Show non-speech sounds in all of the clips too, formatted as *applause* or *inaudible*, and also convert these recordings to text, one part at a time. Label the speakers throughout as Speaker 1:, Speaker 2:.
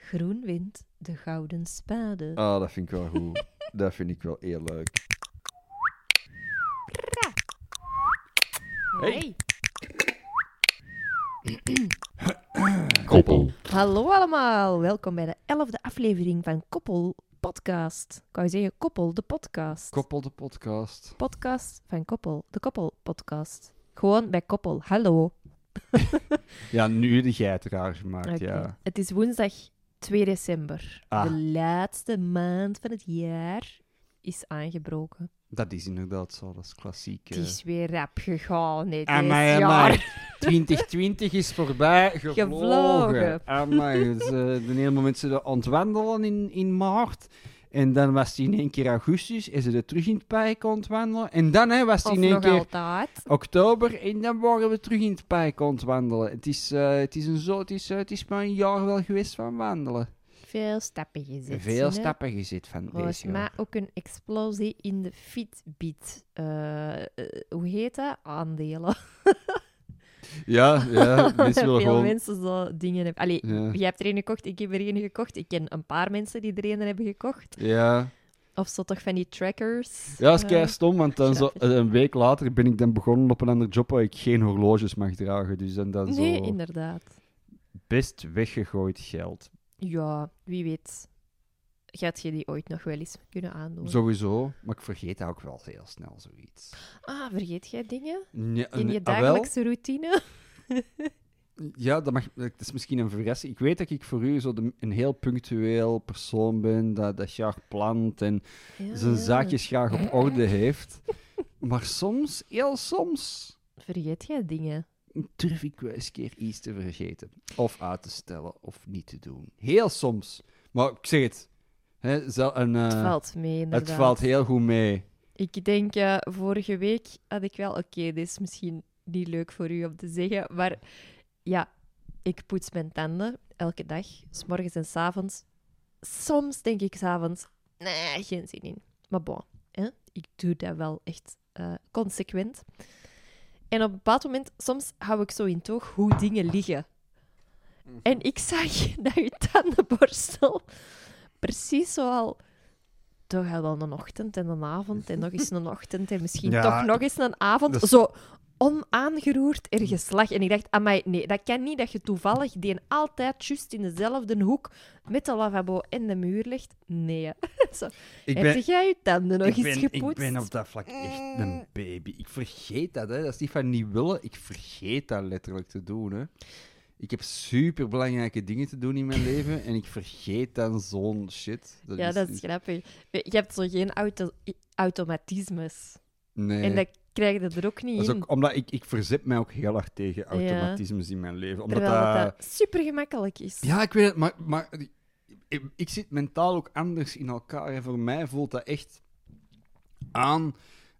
Speaker 1: Groen wint de gouden spade.
Speaker 2: Oh.
Speaker 3: Ah, dat vind ik wel goed.
Speaker 2: *laughs*
Speaker 3: dat vind ik wel eerlijk. Hey.
Speaker 2: Koppel.
Speaker 1: Hallo allemaal, welkom bij de elfde aflevering van Koppel Podcast. Ik wou zeggen Koppel, de podcast.
Speaker 3: Koppel de podcast.
Speaker 1: podcast van Koppel, de Koppel Podcast. Gewoon bij Koppel, hallo.
Speaker 2: Ja, nu de jij het raar gemaakt,
Speaker 1: Oké.
Speaker 2: ja.
Speaker 1: Het is woensdag 2 december.
Speaker 2: Ah.
Speaker 1: De laatste maand van het jaar is aangebroken.
Speaker 2: Dat is inderdaad zo, dat is Ah, klassiek.
Speaker 1: Het is weer rap gegaan dit
Speaker 2: Amai,
Speaker 1: is
Speaker 2: amai.
Speaker 1: jaar. *laughs*
Speaker 2: 2020 is voorbij, gevlogen. Ah,
Speaker 1: Gevlogen.
Speaker 2: Amai, ze, eh, de hele moment ze dat ontwandelen in, in maart. En dan was het in één keer augustus en ze er terug in het park ontwandelen. En dan hè, was het
Speaker 1: Of
Speaker 2: in één
Speaker 1: nog
Speaker 2: keer
Speaker 1: altijd.
Speaker 2: oktober en dan waren we terug in het park ontwandelen. Het is, eh, het is, een zo, het is, eh, het is maar een jaar wel geweest van wandelen.
Speaker 1: Veel stappen gezet.
Speaker 2: Veel
Speaker 1: zie je.
Speaker 2: stappen gezet van
Speaker 1: Volgens
Speaker 2: deze.
Speaker 1: mij ook een explosie in de Fitbit. eh, eh, hoe heet dat? Aandelen.
Speaker 2: Ja,
Speaker 1: *laughs*
Speaker 2: ja, mensen
Speaker 1: Veel
Speaker 2: willen gewoon...
Speaker 1: mensen zo dingen hebben. Allee,
Speaker 2: Ja.
Speaker 1: jij hebt er een gekocht, ik heb er een gekocht. Ik ken een paar mensen die er een hebben gekocht.
Speaker 2: Ja.
Speaker 1: Of zo toch van die trackers.
Speaker 2: ja, dat is
Speaker 1: eh,
Speaker 2: kei stom, want dan zo,
Speaker 1: grappig.
Speaker 2: een week later ben ik dan begonnen op een ander job waar ik geen horloges mag dragen. Dus dan, dan zo
Speaker 1: Nee, inderdaad.
Speaker 2: best weggegooid geld.
Speaker 1: Ja, wie weet. Gaat je die ooit nog wel eens kunnen aandoen?
Speaker 2: Sowieso, maar ik vergeet dat ook wel heel snel, zoiets.
Speaker 1: Ah, vergeet jij dingen?
Speaker 2: Ja,
Speaker 1: In je
Speaker 2: ah, wel,
Speaker 1: dagelijkse routine?
Speaker 2: ja, dat, mag, dat is misschien een verrassing. Ik weet dat ik voor u zo de- een heel punctueel persoon ben, dat, dat graag plant en
Speaker 1: Ja,
Speaker 2: zijn
Speaker 1: ja.
Speaker 2: zaakjes graag op orde heeft. Maar soms, heel soms,
Speaker 1: Vergeet jij dingen?
Speaker 2: durf ik wel eens een keer iets te vergeten. Of uit te stellen, of niet te doen. Heel soms. Maar ik zeg het. Hè, zo een, eh,
Speaker 1: het valt mee, inderdaad.
Speaker 2: het valt heel goed mee.
Speaker 1: Ik denk, eh, vorige week had ik wel... Oké, dit is misschien niet leuk voor u om te zeggen, maar ja, ik poets mijn tanden elke dag, s morgens en s avonds. Soms denk ik s'avonds, nee, geen zin in. Maar bon, hè, ik doe dat wel echt eh, consequent. En op een bepaald moment, soms hou ik zo in toog hoe dingen liggen.
Speaker 2: Mhm.
Speaker 1: En ik zag *laughs* dat uw tandenborstel precies zoal... Toch al wel een ochtend en een avond en nog eens een ochtend en misschien
Speaker 2: *laughs* Ja,
Speaker 1: toch nog eens een avond.
Speaker 2: dat is-
Speaker 1: Zo onaangeroerd ergens lag. En ik dacht, amai, nee, dat kan niet dat je toevallig die altijd juist in dezelfde hoek met de lavabo en de muur legt. Nee. hè. Zo.
Speaker 2: Ik
Speaker 1: Heb jij je tanden nog
Speaker 2: ik,
Speaker 1: eens
Speaker 2: ben, ik
Speaker 1: gepoetst? Mm.
Speaker 2: ben op dat vlak echt een baby. Ik vergeet dat. Hè. Dat is niet van niet willen. Ik vergeet dat letterlijk te doen. Hè. Ik heb super belangrijke dingen te doen in mijn leven. En ik vergeet dan zo'n shit.
Speaker 1: Ja, dat is grappig. Je je hebt zo geen auto automatismes.
Speaker 2: Nee.
Speaker 1: En dat krijg je er ook niet
Speaker 2: Dat is
Speaker 1: in.
Speaker 2: ook omdat ik, ik verzet mij ook heel hard tegen automatismes in mijn leven. Omdat
Speaker 1: terwijl dat,
Speaker 2: dat-
Speaker 1: super gemakkelijk is.
Speaker 2: Ja, ik weet het, maar, maar ik, ik zit mentaal ook anders in elkaar. En voor mij voelt dat echt aan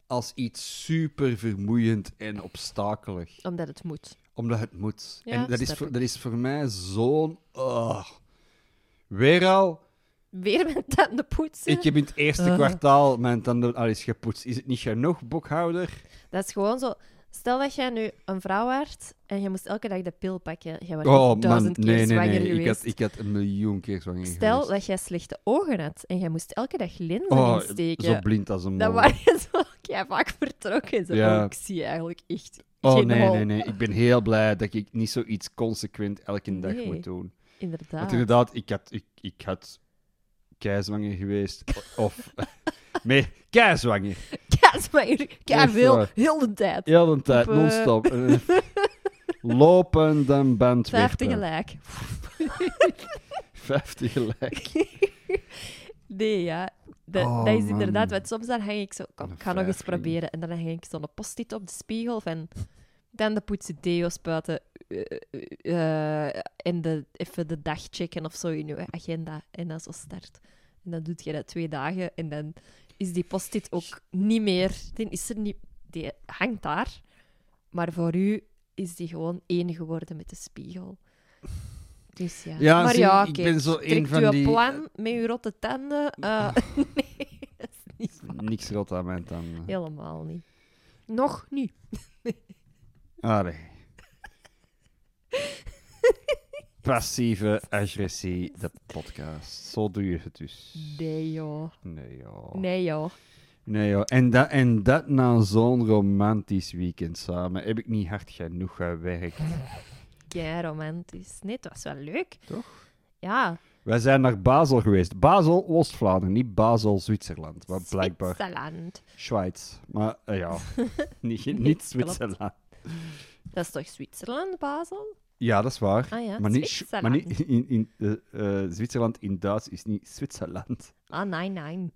Speaker 2: als iets super vermoeiend en obstakelig.
Speaker 1: Omdat het moet.
Speaker 2: Omdat het moet.
Speaker 1: Ja,
Speaker 2: en dat is,
Speaker 1: snap
Speaker 2: voor,
Speaker 1: ik.
Speaker 2: dat is voor mij zo'n. ah. Weer al,
Speaker 1: Weer *laughs* mijn tanden poetsen.
Speaker 2: ik heb in het eerste
Speaker 1: Ah.
Speaker 2: kwartaal mijn tanden al eens gepoetst. Is het niet genoeg, boekhouder?
Speaker 1: Dat is gewoon zo. Stel dat jij nu een vrouw werd en je moest elke dag de pil pakken. Jij werd
Speaker 2: Oh
Speaker 1: oh,
Speaker 2: man,
Speaker 1: duizend
Speaker 2: nee,
Speaker 1: keer
Speaker 2: nee,
Speaker 1: zwanger
Speaker 2: nee. Ik
Speaker 1: geweest.
Speaker 2: had, ik had een miljoen keer zwanger
Speaker 1: Stel
Speaker 2: geweest.
Speaker 1: dat jij slechte ogen had en jij moest elke dag linzen
Speaker 2: Oh,
Speaker 1: insteken.
Speaker 2: zo blind als een
Speaker 1: Dan
Speaker 2: mol.
Speaker 1: waren ze ook ja, vaak vertrokken. Zo.
Speaker 2: Ja.
Speaker 1: Oh, ik zie eigenlijk echt
Speaker 2: Oh
Speaker 1: geen
Speaker 2: nee,
Speaker 1: hol.
Speaker 2: nee, nee. Ik ben heel blij dat ik niet zoiets consequent elke dag
Speaker 1: Nee.
Speaker 2: moet doen. Want
Speaker 1: Inderdaad.
Speaker 2: inderdaad, ik had, ik, ik had keizwanger geweest. o- Of *laughs* nee, keizwanger.
Speaker 1: Kaas maar hier, kei
Speaker 2: Echt eh,
Speaker 1: veel,
Speaker 2: waar.
Speaker 1: heel de tijd.
Speaker 2: Heel de tijd,
Speaker 1: Poepen. *laughs*
Speaker 2: non-stop. Eh, Lopen, dan band weer. Eh,
Speaker 1: Vijf
Speaker 2: *laughs*
Speaker 1: tegelijk.
Speaker 2: Vijf tegelijk.
Speaker 1: Nee, ja. De-
Speaker 2: Oh,
Speaker 1: dat is
Speaker 2: man.
Speaker 1: inderdaad, want soms dan hang ik zo... Kom,
Speaker 2: Een
Speaker 1: ik ga nog eens
Speaker 2: vijfling.
Speaker 1: proberen. En dan hang ik zo'n post-it op de spiegel van... Dan de poetsen, deo spuiten. eh, eh, eh, en de, even de dag checken of zo in je agenda. En dan zo start. En dan doet je dat twee dagen. En dan is die post-it ook niet meer... Dan is er niet... Die hangt daar. Maar voor u is die gewoon één geworden met de spiegel. Dus ja.
Speaker 2: Ja,
Speaker 1: maar
Speaker 2: zie,
Speaker 1: ja,
Speaker 2: ik
Speaker 1: oké,
Speaker 2: ben zo
Speaker 1: trekt
Speaker 2: één van
Speaker 1: uw
Speaker 2: die-
Speaker 1: plan met uw rotte tanden. eh, *laughs* nee, dat is niet waar.
Speaker 2: Niks rot aan mijn tanden.
Speaker 1: Helemaal niet. Nog niet.
Speaker 2: Ah, nee. Passieve agressie, de podcast. Zo doe je het dus.
Speaker 1: Nee, joh.
Speaker 2: Nee, joh.
Speaker 1: Oh. Nee, joh.
Speaker 2: Nee, joh. En, dat, en dat na zo'n romantisch weekend samen heb ik niet hard genoeg gewerkt.
Speaker 1: Kei romantisch. Nee, het was wel leuk.
Speaker 2: Toch?
Speaker 1: Ja.
Speaker 2: Wij zijn naar Basel geweest. Basel, Oost-Vlaanderen, niet Basel, Zwitserland. Want blijkbaar
Speaker 1: Zwitserland.
Speaker 2: Schweiz. Maar
Speaker 1: *laughs*
Speaker 2: eh, ja, niet, niet
Speaker 1: klopt.
Speaker 2: Zwitserland.
Speaker 1: Dat is toch Zwitserland, Basel?
Speaker 2: Ja, dat is waar.
Speaker 1: Ah ja,
Speaker 2: maar niet, Sch- maar
Speaker 1: Zwitserland.
Speaker 2: niet in, in eh, eh, Zwitserland in Duits is niet Zwitserland.
Speaker 1: Ah, nee,
Speaker 2: *laughs*
Speaker 1: nee.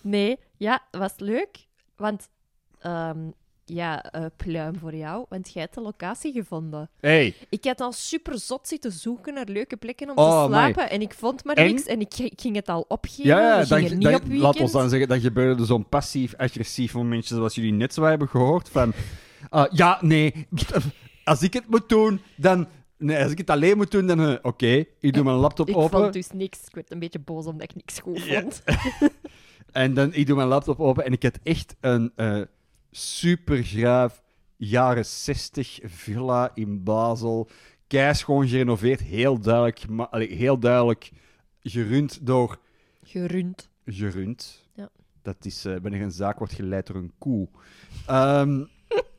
Speaker 1: nee, ja, was leuk. Want, ehm, ja, eh, pluim voor jou, want jij hebt de locatie gevonden.
Speaker 2: Hey,
Speaker 1: Ik had al super zot zitten zoeken naar leuke plekken om
Speaker 2: Oh,
Speaker 1: te
Speaker 2: amai.
Speaker 1: slapen. En ik vond maar
Speaker 2: En?
Speaker 1: niks en ik, ik ging het al opgeven.
Speaker 2: Ja, ja
Speaker 1: we
Speaker 2: dan,
Speaker 1: gingen niet
Speaker 2: dan-
Speaker 1: op weekend.
Speaker 2: laat ons dan zeggen, dat gebeurde zo'n passief-agressief momentje zoals jullie net zo hebben gehoord. Van, *laughs* ah, ja, nee, *laughs* als ik het moet doen, dan... Nee, als ik het alleen moet doen, dan... eh, Oké, ik doe mijn laptop
Speaker 1: Ik
Speaker 2: open.
Speaker 1: vond dus niks. Ik werd een beetje boos omdat ik niks goed
Speaker 2: Ja.
Speaker 1: vond. *laughs*
Speaker 2: En dan, ik doe mijn laptop open en ik had echt een eh supergraaf jaren 60 villa in Basel. Keischoon gerenoveerd, heel duidelijk, gema- allee, heel duidelijk gerund door
Speaker 1: Gerund.
Speaker 2: gerund.
Speaker 1: Ja.
Speaker 2: Dat is eh, wanneer een zaak wordt geleid door een koe. Ehm,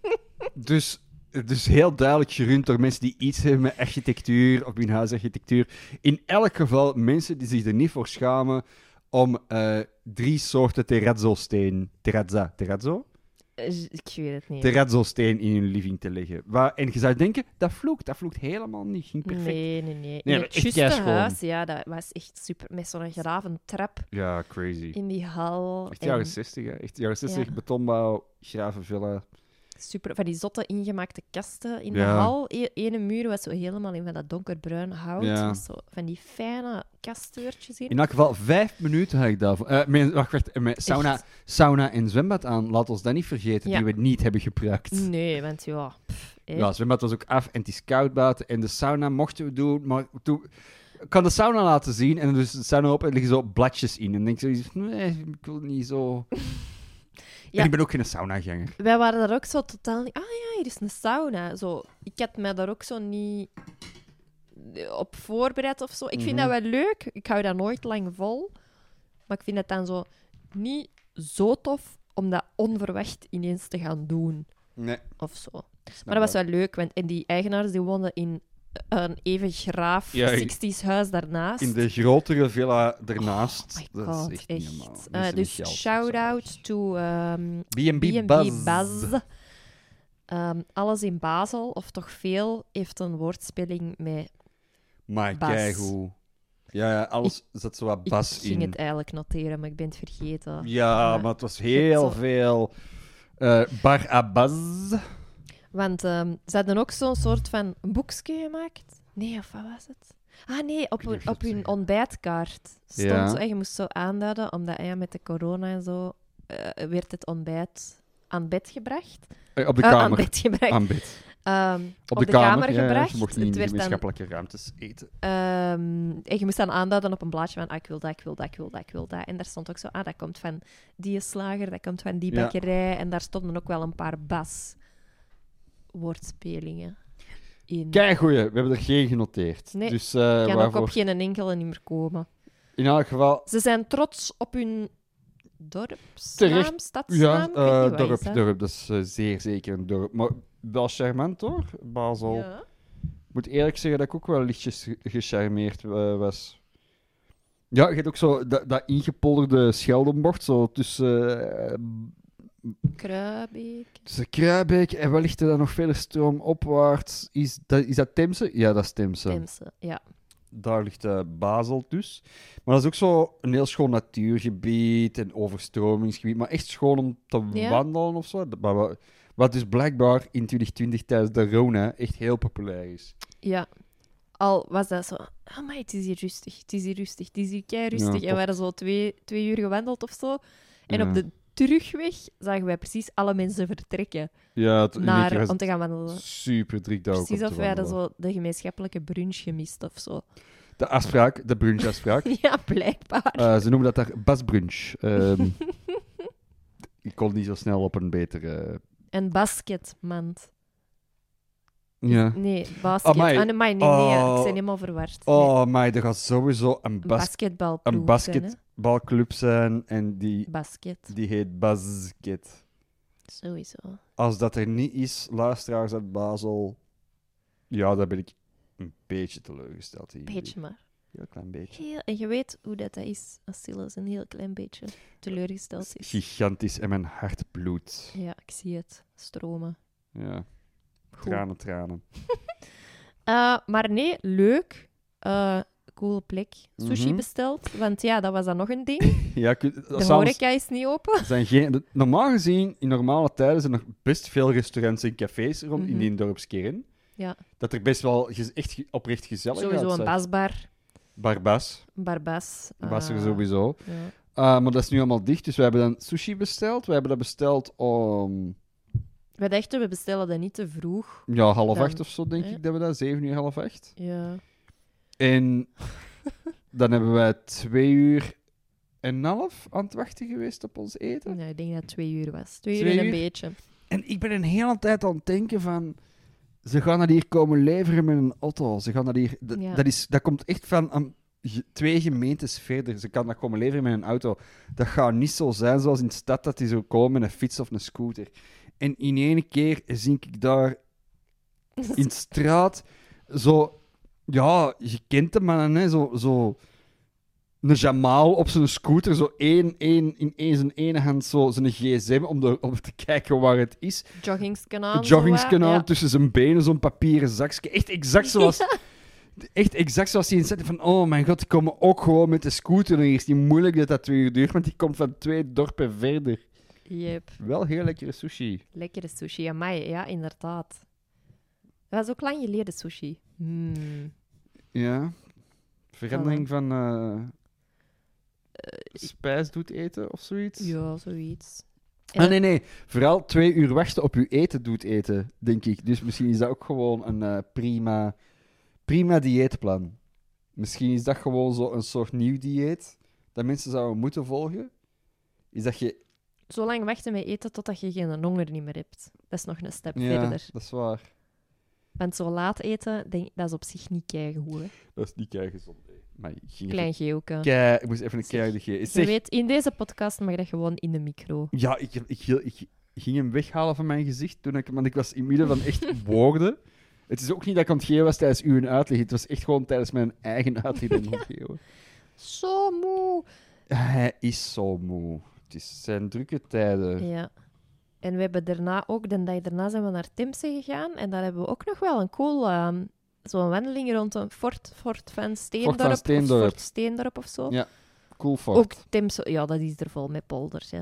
Speaker 2: *laughs* dus, dus heel duidelijk gerund door mensen die iets hebben met architectuur of hun huisarchitectuur. In elk geval mensen die zich er niet voor schamen om eh, drie soorten terrazzo-steen, terrazza, terrazzo?
Speaker 1: Eh, Ik weet het niet.
Speaker 2: Terrazzo-steen in hun living te leggen. Waar, en je zou denken, dat vloekt, dat vloekt helemaal niet, ging perfect.
Speaker 1: Nee, nee, nee.
Speaker 2: maar
Speaker 1: In het
Speaker 2: echt
Speaker 1: juiste
Speaker 2: keischoon.
Speaker 1: huis, ja, dat was echt super. Met zo'n graven trap
Speaker 2: Ja, crazy.
Speaker 1: in die hal.
Speaker 2: Echt
Speaker 1: en
Speaker 2: jaren 60, hè? Echt jaren 60,
Speaker 1: Ja.
Speaker 2: betonbouw, graven villa.
Speaker 1: super, van die zotte ingemaakte kasten in de
Speaker 2: Ja.
Speaker 1: hal. E ene muur was zo helemaal in van dat donkerbruin hout.
Speaker 2: Ja.
Speaker 1: met Zo, van die fijne kasteurtjes in.
Speaker 2: In elk geval, vijf minuten had ik daarvoor. Eh met, wacht, wacht, eh, met sauna,
Speaker 1: Echt.
Speaker 2: sauna en zwembad aan. Laat ons dat niet vergeten,
Speaker 1: Ja.
Speaker 2: die we niet hebben gebruikt.
Speaker 1: Nee, want ja. pff, hè.
Speaker 2: Ja, het zwembad was ook af en het is koud buiten. En de sauna mochten we doen, maar toen... Ik kan de sauna laten zien en dus de sauna open en liggen zo bladjes in. En dan denk ik zo, nee, ik wil niet zo...
Speaker 1: Ja.
Speaker 2: En ik ben ook geen saunaganger.
Speaker 1: Wij waren daar ook zo totaal niet... Ah ja, hier is een sauna. Zo, ik had mij daar ook zo niet eh, op voorbereid of zo. Ik vind
Speaker 2: Mhm.
Speaker 1: dat wel leuk. Ik hou dat nooit lang vol. Maar ik vind het dan zo niet zo tof om dat onverwacht ineens te gaan doen.
Speaker 2: Nee.
Speaker 1: Of zo. Maar dat was wel leuk. Want, en die eigenaars die woonden in eh, een even graaf
Speaker 2: Ja, in-
Speaker 1: 60s huis daarnaast.
Speaker 2: In de grotere villa ernaast.
Speaker 1: Oh My
Speaker 2: dat
Speaker 1: God,
Speaker 2: is echt, niet normaal.
Speaker 1: Eh,
Speaker 2: Mensen met
Speaker 1: dus
Speaker 2: geld,
Speaker 1: shout-out to ehm,
Speaker 2: B&B
Speaker 1: B&B
Speaker 2: Buzz.
Speaker 1: Buzz. Ehm, alles in Basel, of toch veel, heeft een woordspeling met...
Speaker 2: Maar
Speaker 1: Bas.
Speaker 2: kijk hoe. Ja, ja, alles zat zo wat
Speaker 1: Ik
Speaker 2: bas
Speaker 1: ging
Speaker 2: in.
Speaker 1: het eigenlijk noteren, maar ik ben het vergeten.
Speaker 2: Ja,
Speaker 1: Ja.
Speaker 2: maar het was
Speaker 1: Zo.
Speaker 2: heel veel. eh Barabas.
Speaker 1: Want ehm, ze hadden ook zo'n soort van boekje gemaakt. Nee, of wat was het? Ah nee, op,
Speaker 2: weet niet
Speaker 1: hun,
Speaker 2: of
Speaker 1: op
Speaker 2: je het
Speaker 1: hun
Speaker 2: zegt.
Speaker 1: ontbijtkaart stond
Speaker 2: Ja.
Speaker 1: zo, en je moest zo aanduiden, omdat eh, ja, met de corona en zo eh, werd het ontbijt aan bed gebracht.
Speaker 2: Eh, op de
Speaker 1: Eh, aan
Speaker 2: kamer.
Speaker 1: bed gebracht.
Speaker 2: Aan bed.
Speaker 1: Ehm, op,
Speaker 2: de, kamer, ja,
Speaker 1: gebracht.
Speaker 2: ze mocht niet in
Speaker 1: het
Speaker 2: de
Speaker 1: werd dan
Speaker 2: gemeenschappelijke ruimtes eten.
Speaker 1: Ehm, en je moest dan aanduiden op een blaadje van ah, ik wil dat, ik wil dat, ik wil dat, ik wil dat. En daar stond ook zo, ah, dat komt van die slager, dat komt van die
Speaker 2: Ja.
Speaker 1: bakkerij. En daar stonden ook wel een paar bas-woordspelingen in.
Speaker 2: Kijk, goeie, we hebben er geen genoteerd.
Speaker 1: Nee,
Speaker 2: dus eh,
Speaker 1: kan ook
Speaker 2: waarvoor...
Speaker 1: op geen enkele niet meer komen.
Speaker 2: in elk geval,
Speaker 1: Ze zijn trots op hun dorpsnaam,
Speaker 2: Terecht. ja,
Speaker 1: stadsnaam,
Speaker 2: eh,
Speaker 1: ik weet niet wat
Speaker 2: dorp,
Speaker 1: is dat.
Speaker 2: dorp, dat is eh, zeer zeker een dorp. Maar wel charmant hoor, Basel. Ik
Speaker 1: Ja.
Speaker 2: moet eerlijk zeggen dat ik ook wel lichtjes ge- gecharmeerd eh, was. Ja, je hebt ook zo dat, dat ingepolderde Scheldenbord, zo tussen eh,
Speaker 1: Kruibeek.
Speaker 2: Dus Kruibeek en wellicht dan nog verder stroomopwaarts. Is dat, is dat Temse? Ja, dat is Temse.
Speaker 1: Temse, ja.
Speaker 2: Daar ligt eh, Basel dus. Maar dat is ook zo een heel schoon natuurgebied en overstromingsgebied. Maar echt schoon om te
Speaker 1: Ja.
Speaker 2: wandelen of zo. Dat- maar wa- Wat dus blijkbaar in 2020 tijdens de Rona echt heel populair is.
Speaker 1: Ja. Al was dat zo, ah, maar het is hier rustig, het is hier rustig, het is hier kei rustig. en we
Speaker 2: klopt.
Speaker 1: hadden zo twee, twee uur gewandeld of zo. En
Speaker 2: Ja.
Speaker 1: op de terugweg zagen wij precies alle mensen vertrekken
Speaker 2: Ja, het
Speaker 1: naar,
Speaker 2: was
Speaker 1: om te gaan wandelen.
Speaker 2: super druk daar ook
Speaker 1: Precies
Speaker 2: om te
Speaker 1: of wij hadden
Speaker 2: wandelen.
Speaker 1: zo de gemeenschappelijke brunch gemist of zo.
Speaker 2: De afspraak, de
Speaker 1: *laughs*
Speaker 2: brunchafspraak.
Speaker 1: Ja, blijkbaar.
Speaker 2: Eh, ze noemen dat daar Basbrunch.
Speaker 1: *laughs*
Speaker 2: Ehm, ik kon niet zo snel op een betere
Speaker 1: Een basketmand.
Speaker 2: Ja.
Speaker 1: Nee, basket.
Speaker 2: Amai.
Speaker 1: Ah, nee, amai, nee, nee, ja,
Speaker 2: Oh.
Speaker 1: ik ben helemaal verward. Nee,
Speaker 2: Oh, maar er gaat sowieso een,
Speaker 1: een
Speaker 2: bas
Speaker 1: basketbalploeg
Speaker 2: een
Speaker 1: zijn, hè.
Speaker 2: basketbalclub zijn en die,
Speaker 1: Basket,
Speaker 2: die heet Basket.
Speaker 1: sowieso.
Speaker 2: Als dat er niet is, luisteraars uit Basel, ja, dan ben ik een beetje teleurgesteld. in jullie.
Speaker 1: Beetje maar.
Speaker 2: Heel klein beetje.
Speaker 1: Heel, en je weet hoe dat, dat is als Silas een heel klein beetje teleurgesteld is.
Speaker 2: Gigantisch en mijn hart bloedt.
Speaker 1: Ja, ik zie het. Stromen.
Speaker 2: Ja,
Speaker 1: Goed.
Speaker 2: tranen, tranen.
Speaker 1: Eh, maar nee, leuk. Eh coole plek. Sushi
Speaker 2: Mhm.
Speaker 1: besteld, want ja, dat was dan nog een ding.
Speaker 2: Ja, ik-
Speaker 1: De
Speaker 2: s'avonds-
Speaker 1: horeca is niet open.
Speaker 2: Er zijn geen, de- normaal gezien, in normale tijden zijn er best veel restaurants en cafés rond in
Speaker 1: Mhm.
Speaker 2: die dorpskern.
Speaker 1: Ja.
Speaker 2: Dat er best wel gez- echt ge- oprecht gezellig
Speaker 1: Sowieso een
Speaker 2: uitzag.
Speaker 1: basbar.
Speaker 2: Barbas.
Speaker 1: Een barbas. eh,
Speaker 2: Was er sowieso.
Speaker 1: ja.
Speaker 2: Ah, maar dat is nu allemaal dicht, dus we hebben dan sushi besteld. We hebben dat besteld om
Speaker 1: We dachten, we bestellen dat niet te vroeg.
Speaker 2: ja, half
Speaker 1: Dan,
Speaker 2: acht of zo, denk
Speaker 1: hè?
Speaker 2: ik, dat we dat. Zeven uur, half acht.
Speaker 1: Ja.
Speaker 2: En
Speaker 1: *laughs*
Speaker 2: dan hebben wij twee uur en een half aan het wachten geweest op ons eten.
Speaker 1: Nou, ik denk dat het twee uur was. Twee uur
Speaker 2: Twee
Speaker 1: en een
Speaker 2: uur?
Speaker 1: beetje.
Speaker 2: En ik ben een hele tijd aan het denken van... Ze gaan dat hier komen leveren met een auto. Ze gaan dat hier... Dat,
Speaker 1: Ja.
Speaker 2: dat, is, dat komt echt van een ge- twee gemeentes verder. Ze kan dat komen leveren met een auto. Dat gaat niet zo zijn zoals in de stad, dat die zo komen met een fiets of een scooter. En in één keer zie ik daar in
Speaker 1: *laughs*
Speaker 2: de straat zo... Ja, je kent de mannen, hè. Zo... zo een Jamaal op zijn scooter, zo één, één, in één, zijn ene hand zo zijn gsm om, de, om te *laughs* kijken waar het is
Speaker 1: Joggingskanaan.
Speaker 2: een jogginskanaal
Speaker 1: Ja.
Speaker 2: tussen zijn benen, zo'n papieren zakje.
Speaker 1: *laughs*
Speaker 2: Echt exact zoals... Echt exact zoals hij in zette van, oh mijn god, die komen ook gewoon met de scooter. En is niet moeilijk dat dat twee uur duurt, want die komt van twee dorpen verder.
Speaker 1: Yep.
Speaker 2: Wel heel lekkere sushi.
Speaker 1: Lekkere sushi. Amai, ja, inderdaad. Dat was ook lang geleden sushi. Mm.
Speaker 2: Ja. Verandering van eh, spijs doet eten of zoiets.
Speaker 1: Eh, Ja, zoiets.
Speaker 2: Ah, nee, nee. Vooral twee uur wachten op uw eten doet eten, denk ik. Dus misschien is dat ook gewoon een eh, prima, prima dieetplan. Misschien is dat gewoon zo een soort nieuw dieet dat mensen zouden moeten volgen. Is dat je...
Speaker 1: Zo lang wachten met eten totdat je geen honger niet meer hebt. Dat is nog een stap
Speaker 2: Ja,
Speaker 1: verder.
Speaker 2: dat is waar.
Speaker 1: Want zo laat eten, denk, dat is op zich niet keigoed. hè.
Speaker 2: Dat is niet kei gezond, nee. Maar ik ging
Speaker 1: Klein
Speaker 2: even
Speaker 1: geeuwke.
Speaker 2: kei... Ik moest even een
Speaker 1: Zeg,
Speaker 2: keiharde geven.
Speaker 1: Je
Speaker 2: Zeg,
Speaker 1: weet, in deze podcast mag dat gewoon in de micro.
Speaker 2: Ja, ik, ik, ik ging hem weghalen van mijn gezicht, toen ik, want ik was in het midden van echt *laughs* woorden. Het is ook niet dat ik aan het geven was tijdens uw uitleg. Het was echt gewoon tijdens mijn eigen uitleg dat ik aan
Speaker 1: *laughs*
Speaker 2: het geven was.
Speaker 1: Zo moe.
Speaker 2: Hij is zo moe. Het is zijn drukke tijden.
Speaker 1: Eh. Ja. En we hebben daarna ook, de dag daarna zijn we naar Timse gegaan. En daar hebben we ook nog wel een cool, ehm, zo'n wandeling rond een fort, fort van Steendorp. of
Speaker 2: Steendorp.
Speaker 1: Fort Steendorp of zo.
Speaker 2: Ja, Cool fuck.
Speaker 1: ook Timse, ja, dat is er vol met polders. Hè.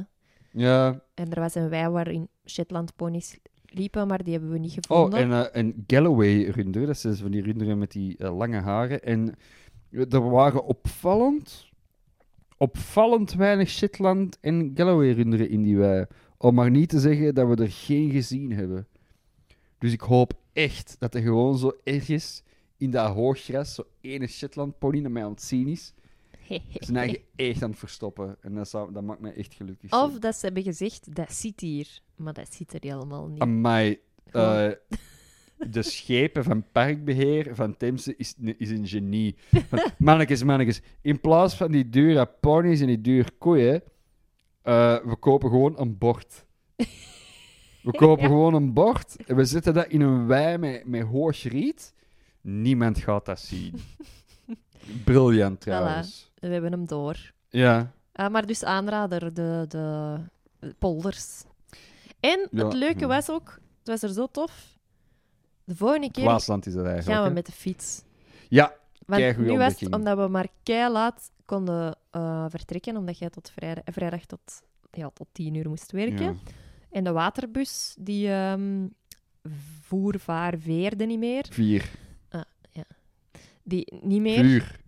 Speaker 2: Ja.
Speaker 1: En er was een wei waarin Shetlandponies liepen, maar die hebben we niet
Speaker 2: Oh,
Speaker 1: gevonden.
Speaker 2: en, eh, een Galloway-runder. Dat zijn van die runderen met die eh, lange haren. En eh, er waren opvallend, opvallend weinig Shetland en Galloway-runderen in die wei. Om maar niet te zeggen dat we er geen gezien hebben. Dus ik hoop echt dat er gewoon zo ergens in dat hooggras zo ene Shetland-pony naar mij aan het zien is. Zijn
Speaker 1: *laughs*
Speaker 2: eigen echt aan het verstoppen. En dat, zou, dat maakt mij echt gelukkig.
Speaker 1: Of dat ze hebben gezegd, dat zit hier. Maar dat zit er helemaal niet.
Speaker 2: Amai.
Speaker 1: Gewoon.
Speaker 2: eh, de schepen van parkbeheer van Temse is, is een genie. Van,
Speaker 1: *laughs*
Speaker 2: mannetjes, mannetjes. In plaats van die dure ponies en die dure koeien, eh, we kopen gewoon een bord.
Speaker 1: *laughs*
Speaker 2: We kopen
Speaker 1: Ja.
Speaker 2: gewoon een bord en we zetten dat in een wei met, met hoog riet. Niemand gaat dat
Speaker 1: *laughs*
Speaker 2: zien. Briljant trouwens.
Speaker 1: We hebben hem door.
Speaker 2: Ja.
Speaker 1: Ah, maar dus aanrader, de, de polders. En
Speaker 2: Ja,
Speaker 1: het leuke
Speaker 2: ja.
Speaker 1: was ook, het was er zo tof. De volgende keer
Speaker 2: Waasland is dat eigenlijk.
Speaker 1: gaan we
Speaker 2: hè?
Speaker 1: met de fiets.
Speaker 2: Ja,
Speaker 1: Want
Speaker 2: Keigoeie
Speaker 1: nu was het
Speaker 2: ontdekking.
Speaker 1: omdat we maar kei laat konden eh, vertrekken, omdat jij tot vrijdag, eh, vrijdag tot, ja, tot tien uur moest werken.
Speaker 2: ja.
Speaker 1: En de waterbus, die ehm voer, vaar, veerde niet meer.
Speaker 2: Vier.
Speaker 1: Die niet meer.
Speaker 2: Vuur.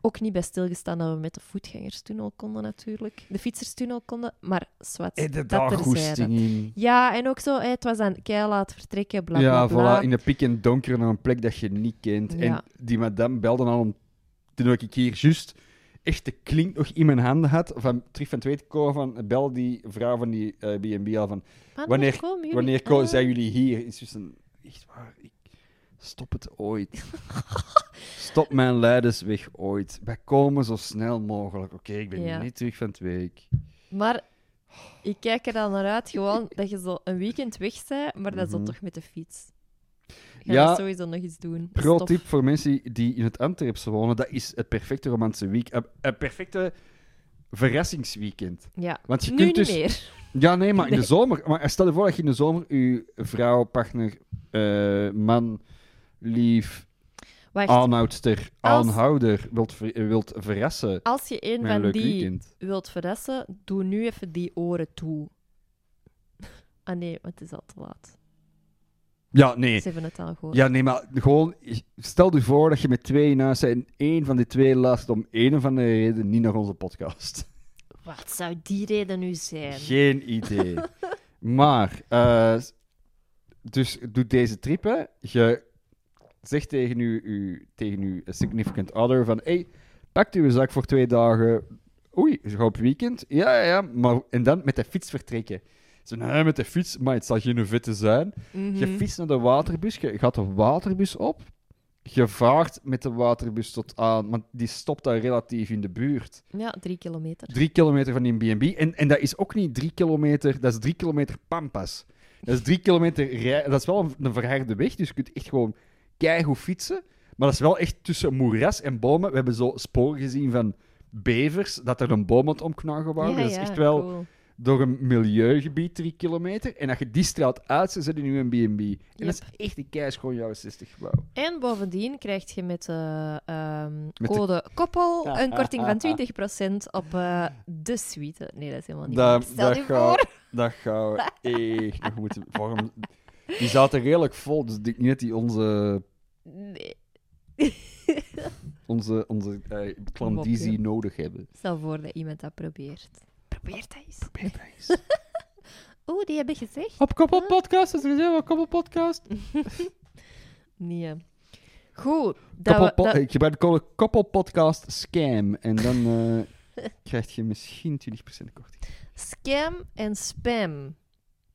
Speaker 1: Ook niet bij stilgestaan dat we met de voetgangerstunnel konden, natuurlijk. De fietserstunnel konden, maar zwart.
Speaker 2: Hey, de
Speaker 1: dat terzijde.
Speaker 2: daggoesting in.
Speaker 1: Ja, en ook zo, hé, het was aan kei laat vertrekken, bla bla
Speaker 2: Ja,
Speaker 1: bla.
Speaker 2: voilà, in de pik en donker naar een plek dat je niet kent.
Speaker 1: Ja.
Speaker 2: En die madame belde al om... Toen ik hier juist echt de klink nog in mijn handen had, van, terug van het weten komen van, bel die vrouw van die eh, B&B al van,
Speaker 1: Maar
Speaker 2: wanneer-
Speaker 1: komen jullie?
Speaker 2: wanneer ko-
Speaker 1: Ah.
Speaker 2: zijn jullie hier? Is dus een... Echt waar, ik, Stop
Speaker 1: *laughs*
Speaker 2: het ooit. Stop mijn leiders weg ooit. Wij komen zo snel mogelijk. Oké, ik ben
Speaker 1: Ja.
Speaker 2: niet terug van het week.
Speaker 1: Maar ik kijk er dan naar uit, gewoon dat je zo een weekend weg bent, maar dat is dan
Speaker 2: Mhm.
Speaker 1: toch met de fiets. Ga
Speaker 2: Ja.
Speaker 1: dat sowieso nog iets doen. Dat is
Speaker 2: Pro
Speaker 1: tof.
Speaker 2: tip voor mensen die in het Antwerpse wonen: dat is het perfecte romantische week. Een, een perfecte verrassingsweekend.
Speaker 1: Ja.
Speaker 2: Want je
Speaker 1: nu
Speaker 2: kunt
Speaker 1: niet
Speaker 2: dus.
Speaker 1: meer.
Speaker 2: Ja, nee, maar in
Speaker 1: Nee.
Speaker 2: de zomer. Maar stel je voor dat je in de zomer je vrouw, partner, eh, man, lief,
Speaker 1: Wacht,
Speaker 2: Ah. aanhoudster,
Speaker 1: Als-
Speaker 2: aanhouder wilt, ver- wilt verrassen
Speaker 1: als je een
Speaker 2: met een
Speaker 1: van
Speaker 2: leuk
Speaker 1: die
Speaker 2: weekend.
Speaker 1: wilt verrassen, doe nu even die oren toe. *laughs* Ah nee, want het is al te laat.
Speaker 2: Ja, nee.
Speaker 1: Ze hebben het al gehoord.
Speaker 2: Ja, nee, maar gewoon, stel je voor dat je met twee in huis bent en één van die twee luistert om een of andere reden niet naar onze podcast.
Speaker 1: Wat zou die reden nu zijn?
Speaker 2: Geen idee. maar, eh, dus doe deze trip, hè. Je zegt tegen je, je- tegen je significant other van, hey, pakt uw zak voor twee dagen. Oei, je gaat op weekend? Ja, ja, ja. Maar, en dan met de fiets vertrekken. Zo, nee, met de fiets, maar het zal geen vette zijn.
Speaker 1: Mhm.
Speaker 2: Je fietst naar de waterbus, je gaat de waterbus op. Je vaart met de waterbus tot aan, want die stopt daar relatief in de buurt.
Speaker 1: Ja, drie kilometer.
Speaker 2: Drie kilometer van die B&B. En, en dat is ook niet drie kilometer, dat is drie kilometer pampas. Dat is drie kilometer rij, dat is wel een, een verharde weg, dus je kunt echt gewoon keigoed fietsen. Maar dat is wel echt tussen moeras en bomen. We hebben zo sporen gezien van bevers, dat er een boom aan het omknagen waren.
Speaker 1: ja,
Speaker 2: dat is
Speaker 1: ja,
Speaker 2: echt wel
Speaker 1: cool.
Speaker 2: door een milieugebied drie kilometer. En als je die straat uit zou zetten, nu een B&B. En dat
Speaker 1: Yep.
Speaker 2: is echt een keischoon jaren 60 gebouw.
Speaker 1: En bovendien krijg je met de ehm,
Speaker 2: de-
Speaker 1: code koppel een korting van 20% op eh, de suite. Nee, dat is helemaal niet waar. Stel je voor.
Speaker 2: dat gaan we echt nog moeten... Waarom? Die zaten redelijk vol, dus ik denk niet dat die onze,
Speaker 1: Nee.
Speaker 2: onze, onze eh, klandizie nodig hebben.
Speaker 1: Stel voor dat iemand dat probeert. Probeer dat eens.
Speaker 2: Pijpijs.
Speaker 1: Oeh, die hebben gezegd.
Speaker 2: Op koppelpodcast, dat is gezegd, op koppelpodcast.
Speaker 1: Nee. eh. Goed. Dat we,
Speaker 2: Koppelpo-
Speaker 1: dat-
Speaker 2: Ik gebruik de code koppelpodcast scam. En dan eh,
Speaker 1: *laughs*
Speaker 2: krijg je misschien 20% korting.
Speaker 1: Scam en spam.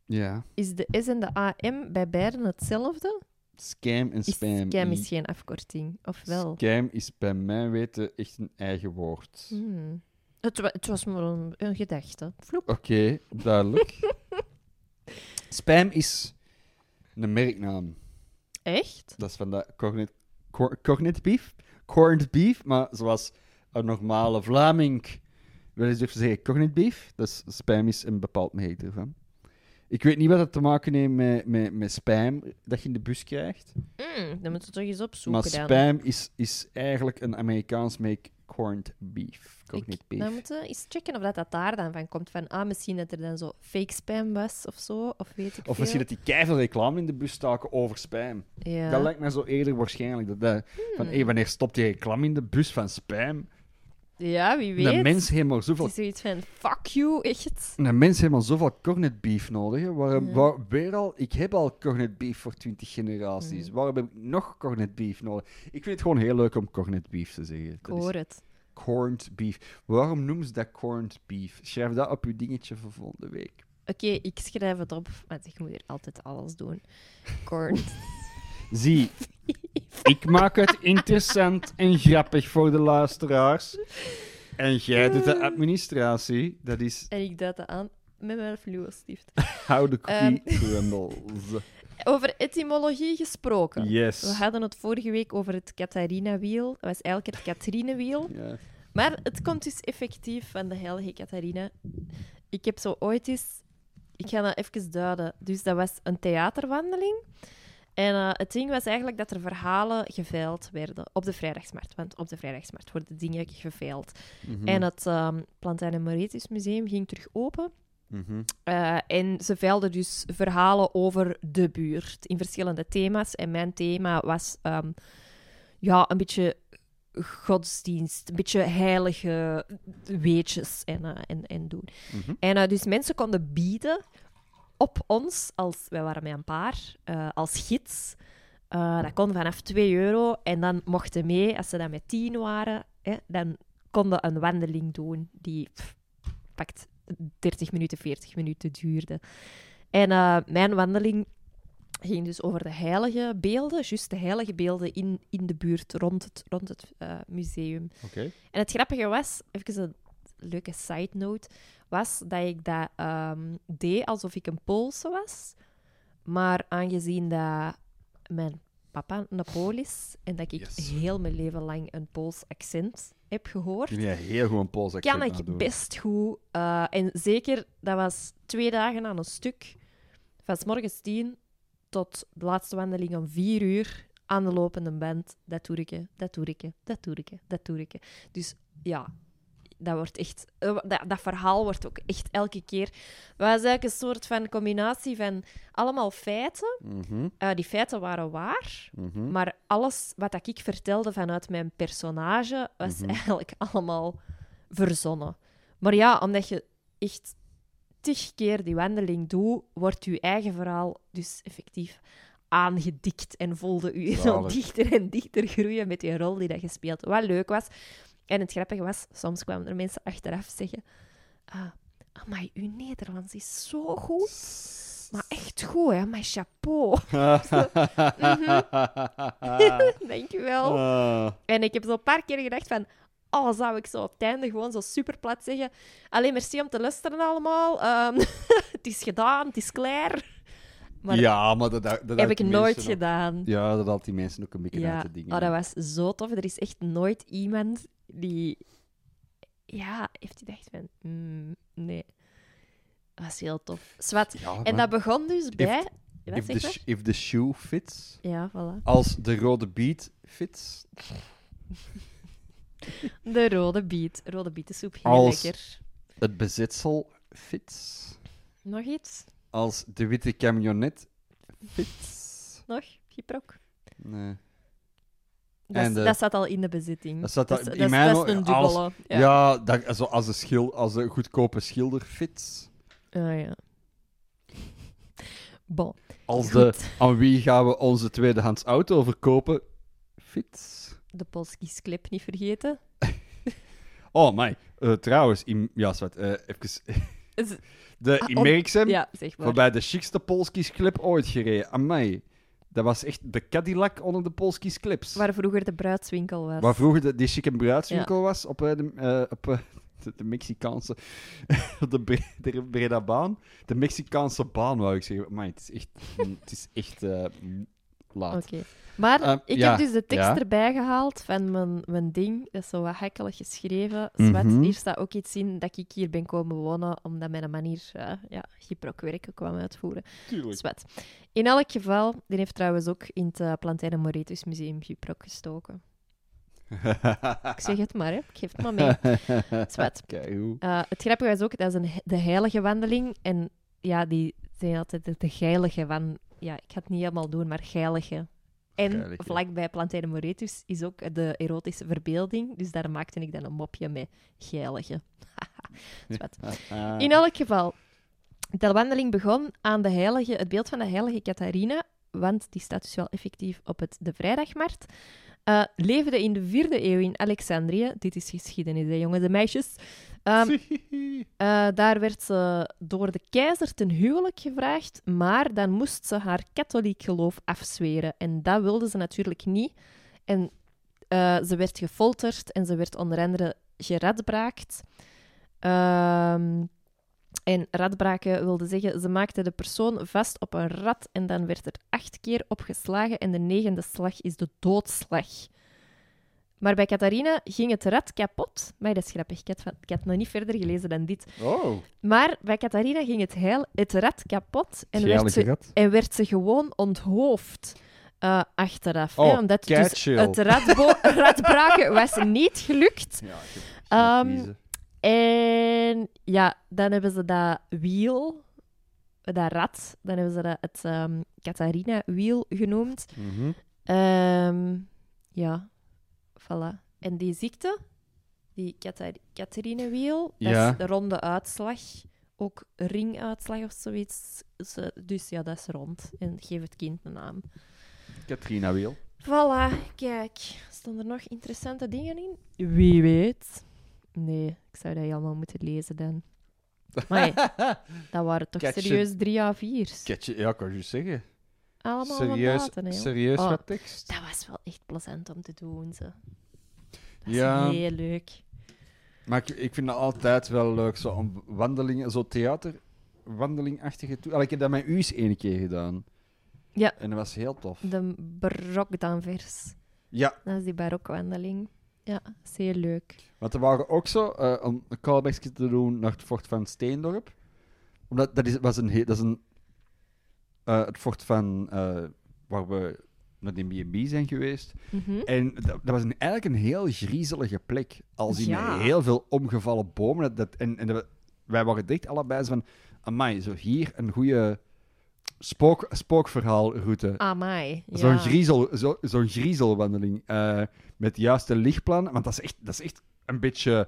Speaker 2: Ja,
Speaker 1: Is de S en de AM bij beiden hetzelfde?
Speaker 2: scam en
Speaker 1: Is
Speaker 2: spam.
Speaker 1: scam is geen afkorting, of wel?
Speaker 2: Scam is bij mijn weten echt een eigen woord.
Speaker 1: Hmm. Het, wa- het was maar een, een gedachte. Vloep.
Speaker 2: Oké,
Speaker 1: *laughs*
Speaker 2: duidelijk. Spam is een merknaam.
Speaker 1: Echt?
Speaker 2: Dat is van de cornet, cor, cornet beef. Corned beef, maar zoals een normale Vlaming wil eens durven zeggen cornet beef. Dus spam is een bepaald merk ervan. Ik weet niet wat dat te maken heeft met, met, met spam dat je in de bus krijgt.
Speaker 1: Hmm, dan moeten we toch eens opzoeken
Speaker 2: Maar
Speaker 1: dan.
Speaker 2: spam is, is eigenlijk een Amerikaans merk corned beef. Corned
Speaker 1: Ik, dan
Speaker 2: beef.
Speaker 1: moeten we eens checken of dat, dat daar dan van komt. Van, ah, misschien dat er dan zo fake spam was of zo, of weet ik
Speaker 2: Of misschien dat die keiveel reclame in de bus staken over spam.
Speaker 1: dat... Ja. Hmm.
Speaker 2: Dat lijkt mij zo eerder waarschijnlijk. Dat, dat- van, hé, wanneer stopt die reclame in de bus van spam?
Speaker 1: ja, wie weet.
Speaker 2: Een mens heeft maar
Speaker 1: Het
Speaker 2: zoveel,
Speaker 1: is zoiets van, fuck you, echt.
Speaker 2: een mens heeft maar zoveel cornet beef nodig. hè. Waarom,
Speaker 1: Ja.
Speaker 2: waar- weer al, ik heb al cornet beef voor 20 generaties. Waarom heb ik nog cornet beef nodig? Ik vind het gewoon heel leuk om cornet beef te zeggen.
Speaker 1: Ik
Speaker 2: Dat is
Speaker 1: hoor het.
Speaker 2: corned beef. Waarom noemen ze dat corned beef? Schrijf dat op je dingetje voor volgende week.
Speaker 1: Oké, ik schrijf het op, want ik moet hier altijd alles doen.
Speaker 2: *laughs*
Speaker 1: Corn. *laughs*
Speaker 2: Zie, ik maak het interessant en grappig voor de luisteraars. En jij doet de administratie. Dat is
Speaker 1: en ik duid dat aan met mijn fluo stift.
Speaker 2: hou de cookie
Speaker 1: Ehm.
Speaker 2: crumbles.
Speaker 1: *laughs* Over etymologie gesproken. We
Speaker 2: Yes.
Speaker 1: hadden het vorige week over het Catharina-wiel. Dat was eigenlijk het Catharine-wiel.
Speaker 2: Ja.
Speaker 1: Maar het komt dus effectief van de heilige Catharina. Ik heb zo ooit eens... Ik ga dat even duiden. Dus dat was een theaterwandeling. En eh, het ding was eigenlijk dat er verhalen geveild werden op de vrijdagsmarkt. Want op de vrijdagsmarkt worden dingen geveild.
Speaker 2: Mhm.
Speaker 1: En het ehm Plantijn en Moretus Museum ging terug open.
Speaker 2: Mhm.
Speaker 1: Eh, en ze veilden dus verhalen over de buurt in verschillende thema's. En mijn thema was ehm, ja, een beetje godsdienst, een beetje heilige weetjes en, eh, en, en doen.
Speaker 2: Mhm.
Speaker 1: En eh, dus mensen konden bieden op ons, als, wij waren met een paar, eh, als gids. Eh, dat kon vanaf 2 euro. En dan mochten mee, als ze dan met 10 waren, hè, dan konden een wandeling doen die pff, pakt 30 minuten, 40 minuten duurde. En eh, mijn wandeling ging dus over de heilige beelden, juist de heilige beelden in, in de buurt rond het, rond het eh, museum.
Speaker 2: Oké.
Speaker 1: En het grappige was, even een leuke side note, was dat ik dat ehm, deed alsof ik een Poolse was. Maar aangezien dat mijn papa een Pool is en dat ik
Speaker 2: Yes.
Speaker 1: heel mijn leven lang een Pools accent heb gehoord,
Speaker 2: Kun jij heel goed een Pools accent
Speaker 1: kan ik
Speaker 2: nadoen?
Speaker 1: best goed. eh, en zeker, dat was twee dagen aan een stuk. Van 's morgens tien tot de laatste wandeling om vier uur aan de lopende band. Dat doe ik, hè, dat doe ik, hè, dat doe ik, hè, dat doe ik. hè. Dus ja, dat wordt echt... eh, dat, dat verhaal wordt ook echt elke keer... Het was eigenlijk een soort van combinatie van allemaal feiten.
Speaker 2: Mhm,
Speaker 1: Eh, die feiten waren waar,
Speaker 2: mhm.
Speaker 1: maar alles wat dat ik vertelde vanuit mijn personage was
Speaker 2: Mhm.
Speaker 1: eigenlijk *laughs* allemaal verzonnen. Maar ja, omdat je echt tig keer die wandeling doet, wordt je eigen verhaal dus effectief aangedikt en voelde u *laughs* zo
Speaker 2: Zalig.
Speaker 1: dichter en dichter groeien met die rol die dat je speelt. Wat leuk was. En het grappige was, soms kwamen er mensen achteraf zeggen... ah, amai, uw Nederlands is zo goed. Maar echt goed, hè? Mijn chapeau. *laughs*
Speaker 2: *laughs*
Speaker 1: Mhm. Dankjewel.
Speaker 2: Ah.
Speaker 1: En ik heb zo een paar keer gedacht van... Oh, zou ik zo op het einde gewoon zo super plat zeggen... Alleen merci om te luisteren allemaal. ehm, *laughs* het is gedaan, het is klaar. Maar
Speaker 2: ja, maar dat, dat, dat
Speaker 1: dat
Speaker 2: had
Speaker 1: heb ik
Speaker 2: die
Speaker 1: nooit
Speaker 2: mensen ook-
Speaker 1: gedaan.
Speaker 2: Ja, dat had die mensen ook een beetje
Speaker 1: Ja,
Speaker 2: uit de dingen.
Speaker 1: oh, dat was zo tof. Er is echt nooit iemand die... Ja, heeft die dacht van... mm, nee. Dat was heel tof. Zwat.
Speaker 2: Ja,
Speaker 1: En
Speaker 2: man.
Speaker 1: dat begon dus bij... Wat
Speaker 2: if,
Speaker 1: zeg
Speaker 2: the,
Speaker 1: je?
Speaker 2: sh- if the shoe fits,
Speaker 1: Ja, voilà.
Speaker 2: als de rode beat fits,
Speaker 1: De rode biet. Rode bietensoep, heel
Speaker 2: Als-
Speaker 1: lekker.
Speaker 2: het bezitsel fits,
Speaker 1: Nog iets?
Speaker 2: als de witte camionet fits.
Speaker 1: Nog? Gyprok?
Speaker 2: Nee.
Speaker 1: Dat,
Speaker 2: En de-
Speaker 1: dat staat al in de bezitting.
Speaker 2: Dat staat al-
Speaker 1: is-
Speaker 2: in
Speaker 1: is-
Speaker 2: mijn
Speaker 1: dat is een
Speaker 2: o- als-
Speaker 1: dubbele.
Speaker 2: Ja,
Speaker 1: ja.
Speaker 2: dat, zo als, een schil, als een goedkope schilder fits.
Speaker 1: Ah, ja. Bon.
Speaker 2: Als de,
Speaker 1: Goed.
Speaker 2: aan wie gaan we onze tweedehands auto verkopen fits.
Speaker 1: De Polski's clip niet vergeten.
Speaker 2: Oh, my. Eh, trouwens, in, ja, zwart, eh, even.
Speaker 1: Is-
Speaker 2: De,
Speaker 1: Ah,
Speaker 2: in
Speaker 1: om-
Speaker 2: Merksem,
Speaker 1: Ja, zeg maar.
Speaker 2: voorbij de chicste Polskis clip ooit gereden. Amai. Dat was echt de Cadillac onder de Polskis clips.
Speaker 1: Waar vroeger de bruidswinkel was.
Speaker 2: Waar vroeger de, die chique bruidswinkel was, op, eh, de, eh, op eh, *laughs* de, de Mexicaanse... *laughs* op de, Bre de Breda baan. De Mexicaanse baan, wou ik zeggen. Amai, het is echt, het is echt eh, laat.
Speaker 1: Oké. Maar
Speaker 2: Ehm,
Speaker 1: ik
Speaker 2: ja,
Speaker 1: heb dus de tekst
Speaker 2: ja.
Speaker 1: erbij gehaald van mijn, mijn ding. Dat is zo wat hakkelig geschreven. Zwart.
Speaker 2: Mhm.
Speaker 1: Hier staat ook iets in dat ik hier ben komen wonen, omdat mijn manier eh ja, gyprokwerken kwam uitvoeren.
Speaker 2: Tuurlijk.
Speaker 1: Zwart. In elk geval, die heeft trouwens ook in het eh, Plantijn en Moretus Museum gyprok gestoken.
Speaker 2: *laughs*
Speaker 1: Ik zeg het maar, hè. ik geef het maar mee. Zwet.
Speaker 2: Kijk hoe.
Speaker 1: Eh, het grappige is ook, dat is een, he- de heilige wandeling. En ja, die zijn altijd de, de geilige van... Ja, ik ga het niet helemaal doen, maar geilige. En
Speaker 2: Geilige.
Speaker 1: vlakbij Plantijn en Moretus is ook de erotische verbeelding. Dus daar maakte ik dan een mopje mee. Geilige. *laughs* Zwet.
Speaker 2: Ah.
Speaker 1: In elk geval, de wandeling begon aan de heilige, het beeld van de heilige Catharina, want die staat dus wel effectief op het de vrijdagmarkt. Eh, leefde in de vierde eeuw in Alexandrië. Dit is geschiedenis, hè, jongens en meisjes. Ehm, eh, daar werd ze door de keizer ten huwelijk gevraagd, maar dan moest ze haar katholiek geloof afzweren. En dat wilde ze natuurlijk niet. En eh, ze werd gefolterd en ze werd onder andere geradbraakt. Ehm, en radbraken wilde zeggen, ze maakte de persoon vast op een rad en dan werd er acht keer op geslagen en de negende slag is de doodslag. Maar bij Catharina ging het rad kapot. Maar dat is grappig, ik had, van- ik had nog niet verder gelezen dan dit.
Speaker 2: *laughs* Oh.
Speaker 1: Maar bij Catharina ging het, heil, het rad kapot en werd, ze, en werd ze gewoon onthoofd eh, achteraf. hè,
Speaker 2: Oh,
Speaker 1: omdat
Speaker 2: kei
Speaker 1: dus
Speaker 2: chill.
Speaker 1: het radbo- radbraken was niet gelukt.
Speaker 2: Ja, ik
Speaker 1: Ehm, En ja, dan hebben ze dat wiel, dat rad, dan hebben ze dat het ehm Catharina-wiel genoemd.
Speaker 2: Mhm.
Speaker 1: Ehm, ja, voilà. En die ziekte, die Catharine-wiel, dat
Speaker 2: Ja.
Speaker 1: is de ronde uitslag. Ook ringuitslag of zoiets. Ze- Dus ja, dat is rond. En geef het kind een naam.
Speaker 2: Katrina Wiel.
Speaker 1: Voilà, kijk. Stonden er nog interessante dingen in? Wie weet. Nee, ik zou dat helemaal moeten lezen dan.
Speaker 2: *laughs*
Speaker 1: Maar dat waren toch
Speaker 2: Catch it.
Speaker 1: serieus drie A4's.
Speaker 2: Ketje, ja, kan je zeggen.
Speaker 1: Allemaal
Speaker 2: serieus
Speaker 1: mandaten, hè, joh.
Speaker 2: serieus
Speaker 1: Oh.
Speaker 2: wat tekst.
Speaker 1: Dat was wel echt plezant om te doen, ze. Dat is
Speaker 2: Ja.
Speaker 1: heel leuk.
Speaker 2: Maar ik, ik vind dat altijd wel leuk, zo'n wandelingen, zo theaterwandelingachtige toe. Allee, Ik heb dat met u eens één keer gedaan.
Speaker 1: Ja.
Speaker 2: En dat was heel tof.
Speaker 1: De barokdanvers.
Speaker 2: Ja,
Speaker 1: Dat is die barokwandeling. Ja, dat is heel leuk.
Speaker 2: want er waren ook zo, eh, om een callback te doen naar het fort van Steendorp. Omdat dat is, was een, he- dat is een eh, het fort van, eh, waar we naar de B&B zijn geweest.
Speaker 1: Mhm.
Speaker 2: En dat, dat was een, eigenlijk een heel griezelige plek. Al zien
Speaker 1: Ja.
Speaker 2: we heel veel omgevallen bomen. Dat, dat- en en dat we- wij waren dicht allebei zo van... Amai, zo hier een goede spook, spookverhaalroute.
Speaker 1: Amai. Ja.
Speaker 2: Zo'n griezel, zo, zo'n griezelwandeling. eh, met het juiste lichtplan. Want dat is echt, dat is echt een beetje...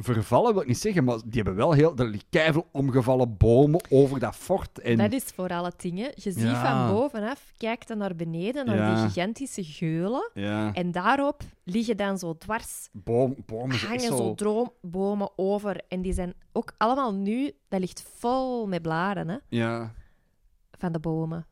Speaker 2: Vervallen wil ik niet zeggen, maar die hebben wel heel... Er liggen keiveel omgevallen bomen over dat fort. En
Speaker 1: Dat is vooral het ding, hè. Je ziet
Speaker 2: Ja.
Speaker 1: van bovenaf, kijkt dan naar beneden, naar
Speaker 2: Ja.
Speaker 1: die gigantische geulen.
Speaker 2: ja,
Speaker 1: En daarop liggen dan zo dwars,
Speaker 2: boom, bomen zijn echt
Speaker 1: hangen zo
Speaker 2: zo...
Speaker 1: droombomen over. En die zijn ook allemaal nu, dat ligt vol met blaren, hè,
Speaker 2: Ja. van
Speaker 1: van de bomen.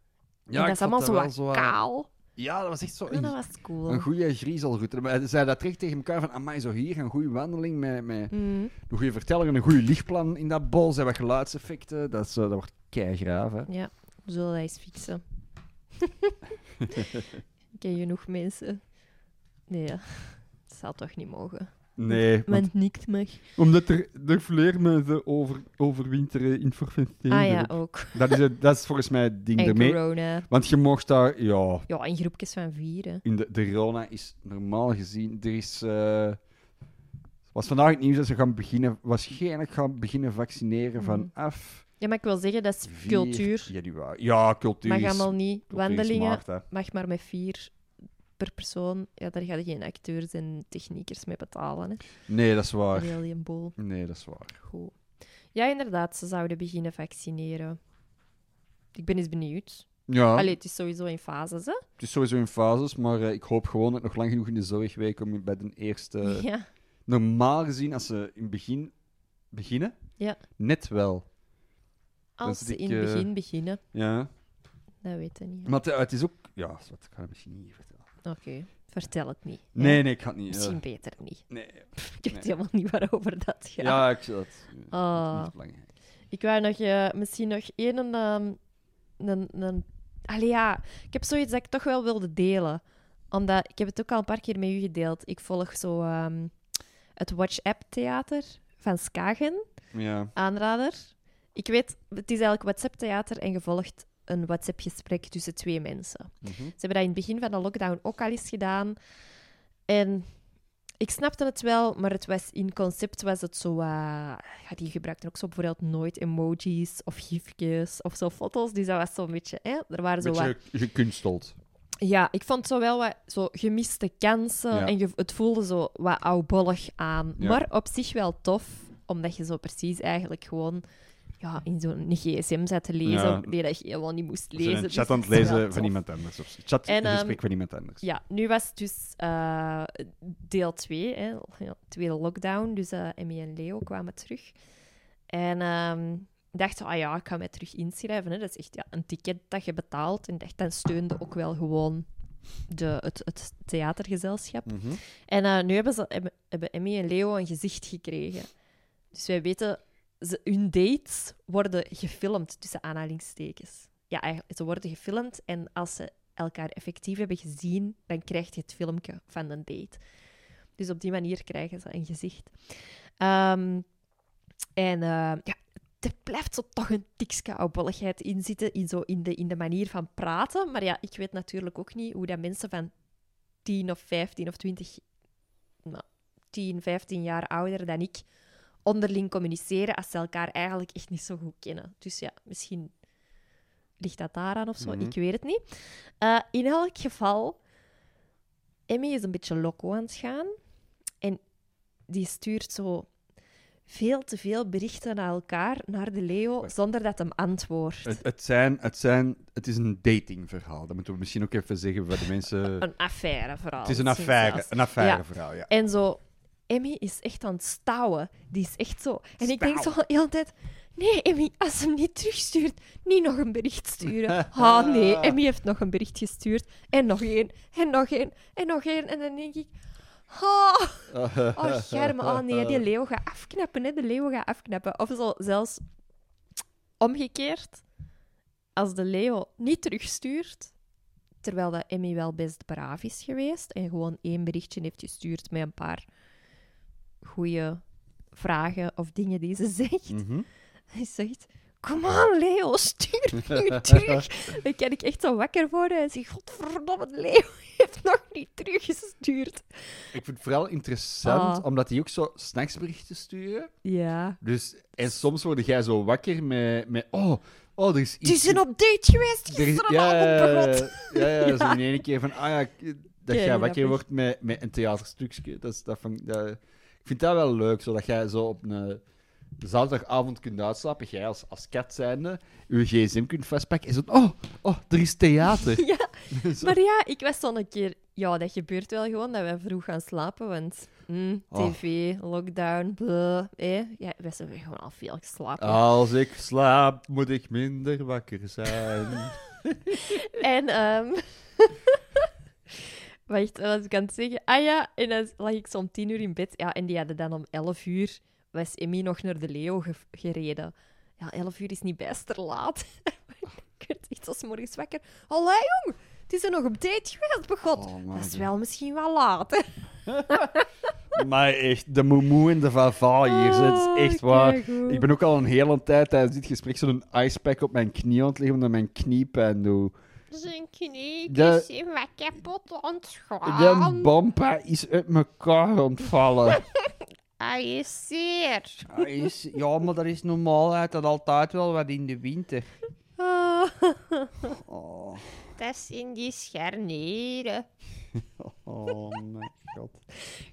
Speaker 2: ja,
Speaker 1: en
Speaker 2: ik
Speaker 1: dat is
Speaker 2: vond
Speaker 1: allemaal zo
Speaker 2: wel
Speaker 1: wat
Speaker 2: eh,
Speaker 1: kaal.
Speaker 2: Ja, dat was echt zo...
Speaker 1: Ja, dat was cool.
Speaker 2: Een goede griezelroute. Maar Ze zeiden dat terug tegen elkaar van, amai, zo hier, een goede wandeling met, met
Speaker 1: Mm.
Speaker 2: een goede verteller en een goede lichtplan in dat bos en wat geluidseffecten. Dat, is, eh, dat wordt keigraaf, hè.
Speaker 1: Ja, we zullen dat eens *laughs* fixen. Ik Ken genoeg mensen? Nee, ja. dat zou toch niet mogen.
Speaker 2: Nee,
Speaker 1: Men nikt mag.
Speaker 2: omdat er, er vleermuizen over, overwinteren in het
Speaker 1: Ah ja, ook.
Speaker 2: dat, is het, dat is volgens mij het ding
Speaker 1: En
Speaker 2: ermee.
Speaker 1: corona.
Speaker 2: Want je mocht daar, ja,
Speaker 1: Ja, in groepjes van vier. hè.
Speaker 2: in de, de Rona is normaal gezien, er is... eh, was vandaag het nieuws dat ze gaan beginnen, waarschijnlijk gaan beginnen vaccineren
Speaker 1: Mhm.
Speaker 2: vanaf...
Speaker 1: Ja, maar ik wil zeggen, dat is
Speaker 2: 4
Speaker 1: cultuur.
Speaker 2: Januari. Ja, cultuur.
Speaker 1: Mag
Speaker 2: is-
Speaker 1: allemaal niet.
Speaker 2: cultuur is
Speaker 1: Wandelingen
Speaker 2: maart, hè.
Speaker 1: mag maar met vier per persoon. Ja, daar ga je geen acteurs en techniekers mee betalen. Hè.
Speaker 2: Nee, dat is waar.
Speaker 1: Heel die boel.
Speaker 2: Nee, dat is waar.
Speaker 1: Goed. Ja, inderdaad, ze zouden beginnen vaccineren. Ik ben eens benieuwd.
Speaker 2: Ja,
Speaker 1: Allee, het is sowieso in fases, hè?
Speaker 2: het is sowieso in fases, maar eh, ik hoop gewoon dat ik nog lang genoeg in de zorg werk om bij de eerste...
Speaker 1: *laughs* Ja.
Speaker 2: Normaal gezien, als ze in het begin beginnen,
Speaker 1: Ja.
Speaker 2: net wel.
Speaker 1: Als
Speaker 2: zit
Speaker 1: ze
Speaker 2: ik,
Speaker 1: in het
Speaker 2: eh,
Speaker 1: begin beginnen,
Speaker 2: Ja.
Speaker 1: dat weten niet. hè.
Speaker 2: Maar het, eh, het is ook... Ja, wat, ik ga het misschien niet vertellen.
Speaker 1: Oké, vertel het niet. hè.
Speaker 2: Nee, nee, ik ga het niet... eh,
Speaker 1: Misschien beter niet.
Speaker 2: nee.
Speaker 1: Ik weet
Speaker 2: Nee.
Speaker 1: helemaal niet waarover dat
Speaker 2: Ja.
Speaker 1: gaat.
Speaker 2: ik zal het... eh,
Speaker 1: Ah.
Speaker 2: Niet belangrijk.
Speaker 1: Ik wou nog, eh, misschien nog één... ehm, een, een... Allee, ja. Ik heb zoiets dat ik toch wel wilde delen. Omdat, ik heb het ook al een paar keer met u gedeeld. Ik volg zo ehm, het Watch App Theater van Skagen.
Speaker 2: Ja.
Speaker 1: Aanrader. Ik weet, het is eigenlijk WhatsApp Theater en gevolgd een WhatsApp gesprek tussen twee mensen.
Speaker 2: Mhm.
Speaker 1: Ze hebben dat in het begin van de lockdown ook al eens gedaan. En ik snapte het wel, maar het was, in concept was het zo... eh, ja, die gebruikten ook zo bijvoorbeeld nooit emojis of gifjes of zo foto's. Dus dat was zo'n beetje... Hè, er waren zo wat...
Speaker 2: Beetje gekunsteld.
Speaker 1: Ja, ik vond zo wel wat zo gemiste kansen.
Speaker 2: Ja.
Speaker 1: En je- het voelde zo wat oudbollig aan.
Speaker 2: Ja.
Speaker 1: Maar op zich wel tof, omdat je zo precies eigenlijk gewoon... Ja, in zo'n gsm zat te lezen,
Speaker 2: Ja.
Speaker 1: die dat je helemaal niet moest
Speaker 2: Ze zijn
Speaker 1: lezen.
Speaker 2: een
Speaker 1: dus
Speaker 2: chat aan het
Speaker 1: dat is wel
Speaker 2: lezen van
Speaker 1: tof.
Speaker 2: iemand anders. Of chat
Speaker 1: En,
Speaker 2: een
Speaker 1: ehm,
Speaker 2: gesprek van iemand anders.
Speaker 1: Ja, nu was het dus eh, deel 2, hè, ja, tweede lockdown. Dus eh, Emmy en Leo kwamen terug. En ehm, ik dacht, ah ja, ik ga mij terug inschrijven. Hè. Dat is echt ja, een ticket dat je betaalt. En ik dacht, dan steunde ook wel gewoon de, het, het theatergezelschap.
Speaker 2: Mhm.
Speaker 1: En eh, nu hebben, ze, hebben, hebben Emmy en Leo een gezicht gekregen. Dus wij weten, ze, hun dates worden gefilmd tussen aanhalingstekens. Ja, eigenlijk, ze worden gefilmd en als ze elkaar effectief hebben gezien, dan krijg je het filmpje van een date. Dus op die manier krijgen ze een gezicht. Ehm, en eh, ja, er blijft zo toch een tikske oudbolligheid in zitten, in, zo in, de, in de manier van praten. Maar ja, ik weet natuurlijk ook niet hoe dat mensen van 10 of 15 of 20, nou, 10, 15 jaar ouder dan ik, onderling communiceren als ze elkaar eigenlijk echt niet zo goed kennen. Dus ja, misschien ligt dat daaraan of zo,
Speaker 2: Mhm.
Speaker 1: ik weet het niet. Eh, in elk geval, Emmy is een beetje loco aan het gaan en die stuurt zo veel te veel berichten naar elkaar, naar de Leo,
Speaker 2: Wacht.
Speaker 1: zonder dat hem antwoordt.
Speaker 2: Het, het, zijn, het, zijn, het is een datingverhaal. Dat moeten we misschien ook even zeggen voor de
Speaker 1: *laughs*
Speaker 2: mensen.
Speaker 1: Een affaire vooral.
Speaker 2: eh, Het is een
Speaker 1: misschien zelfs.
Speaker 2: affaire, een affaire
Speaker 1: Ja.
Speaker 2: verhaal, ja.
Speaker 1: En zo, Emmy is echt aan het stouwen. Die is echt zo. En ik denk zo
Speaker 2: Stouwen.
Speaker 1: heel de hele tijd, Nee, Emmy, als ze hem niet terugstuurt, niet nog een bericht sturen. Ha,
Speaker 2: *laughs*
Speaker 1: nee, Emmy heeft nog een bericht gestuurd. En nog één, en nog één, en nog één. En dan denk ik... Ha, oh, germe. Oh nee, die leeuw gaat afknappen, hè. De leeuw gaat afknappen. Of zo, zelfs omgekeerd. Als de leeuw niet terugstuurt, terwijl dat Emmy wel best braaf is geweest en gewoon één berichtje heeft gestuurd met een paar goede vragen of dingen die ze *laughs* zegt.
Speaker 2: Mhm.
Speaker 1: Hij zegt: Kom aan, Leo, stuur me nu terug. Dan kan ik echt zo wakker worden en zeg: Godverdomme, Leo *laughs* heeft nog niet teruggestuurd.
Speaker 2: Ik vind het vooral interessant,
Speaker 1: Ah.
Speaker 2: omdat die ook zo snacksberichten sturen.
Speaker 1: Ja.
Speaker 2: Dus, en soms word jij zo wakker met, met oh, oh, er is
Speaker 1: Het
Speaker 2: iets...
Speaker 1: is een update geweest
Speaker 2: er is-
Speaker 1: gisteravond,
Speaker 2: ja,
Speaker 1: ja,
Speaker 2: ja, *laughs* ja, ja,
Speaker 1: *laughs*
Speaker 2: ja,
Speaker 1: Ja.
Speaker 2: zo in één keer van, ah ja, k-
Speaker 1: Ja,
Speaker 2: dat jij
Speaker 1: dat
Speaker 2: wakker
Speaker 1: is-
Speaker 2: wordt met, met een theaterstukje. Dat is, dat van, dat, ik vind dat wel leuk, zodat jij zo op een zaterdagavond kunt uitslapen, jij als, als kat zijnde, je gsm kunt vastpakken en zo, oh, oh, er is
Speaker 1: *laughs*
Speaker 2: theater.
Speaker 1: Ja,
Speaker 2: *laughs* Zo.
Speaker 1: maar ja, ik was dan een keer... Ja, dat gebeurt wel gewoon, dat wij vroeg gaan slapen, want... mm,
Speaker 2: Oh.
Speaker 1: TV, lockdown, bleh, hè. Ja, wij zijn gewoon al veel geslapen.
Speaker 2: Als ik slaap, moet ik minder wakker zijn.
Speaker 1: En, ehm *laughs* Wacht, wat was ik aan het zeggen? Ah ja, en dan lag ik zo om tien uur in bed. Ja, en die hadden dan om elf uur... Was Emmy nog naar de Leo ge- gereden. Ja, elf uur is niet bijster laat. *laughs* ik werd echt als morgens wakker. Allee, jong! Het is er nog op date geweest, begot.
Speaker 2: Oh, maar
Speaker 1: Dat is
Speaker 2: de-
Speaker 1: wel misschien wel laat, *laughs* hè?
Speaker 2: Maar echt, de moemoe en de vava hier, ze, het is echt
Speaker 1: Oh,
Speaker 2: waar.
Speaker 1: keigoed.
Speaker 2: Ik ben ook al een hele tijd tijdens dit gesprek zo'n icepack op mijn knie aan het liggen, omdat mijn kniepijn doet.
Speaker 4: Zijn knie
Speaker 2: De-
Speaker 4: is in wat kapot
Speaker 2: De
Speaker 4: ontschaamd.
Speaker 2: bampa is uit elkaar ontvallen.
Speaker 4: Hij is zeer.
Speaker 2: ja, maar er is normaal uit dat altijd wel wat in de winter.
Speaker 1: Ah.
Speaker 2: Oh,
Speaker 4: Dat zijn die scharnieren.
Speaker 2: oh mijn god.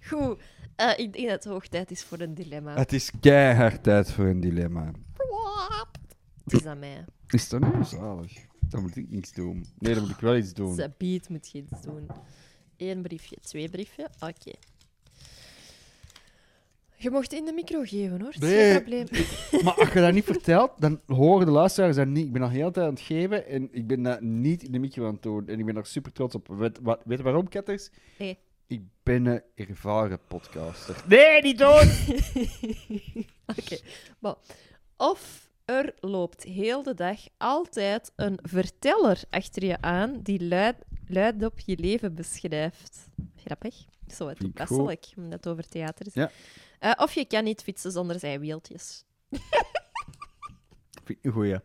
Speaker 1: Goed. Eh, ik denk dat het hoog tijd is voor een dilemma.
Speaker 3: Het is keihard tijd voor een dilemma.
Speaker 1: Het is aan mij.
Speaker 3: Is dat nu zalig?
Speaker 2: Dan moet ik niks doen. Nee, dan moet ik wel iets doen.
Speaker 1: Sabiet moet je iets doen. Eén briefje, twee briefje. Oké. Je mocht in de micro geven hoor. Het is
Speaker 2: Nee.
Speaker 1: geen probleem.
Speaker 2: Maar als je dat niet vertelt, dan horen de luisteraars dat niet. Ik ben al heel de tijd aan het geven en ik ben dat niet in de micro aan het doen. En ik ben daar super trots op. Weet, wa- weet je waarom, Ketters?
Speaker 1: Nee.
Speaker 2: Ik ben een ervaren podcaster.
Speaker 1: Oké. bon. Of er loopt heel de dag altijd een verteller achter je aan die luid, luidop je leven beschrijft. Grappig. Zo wat
Speaker 2: Vind ik
Speaker 1: toepasselijk, omdat het over theater is.
Speaker 2: Ja.
Speaker 1: Eh, of je kan niet fietsen zonder zijwieltjes.
Speaker 2: Vind ik een goeie.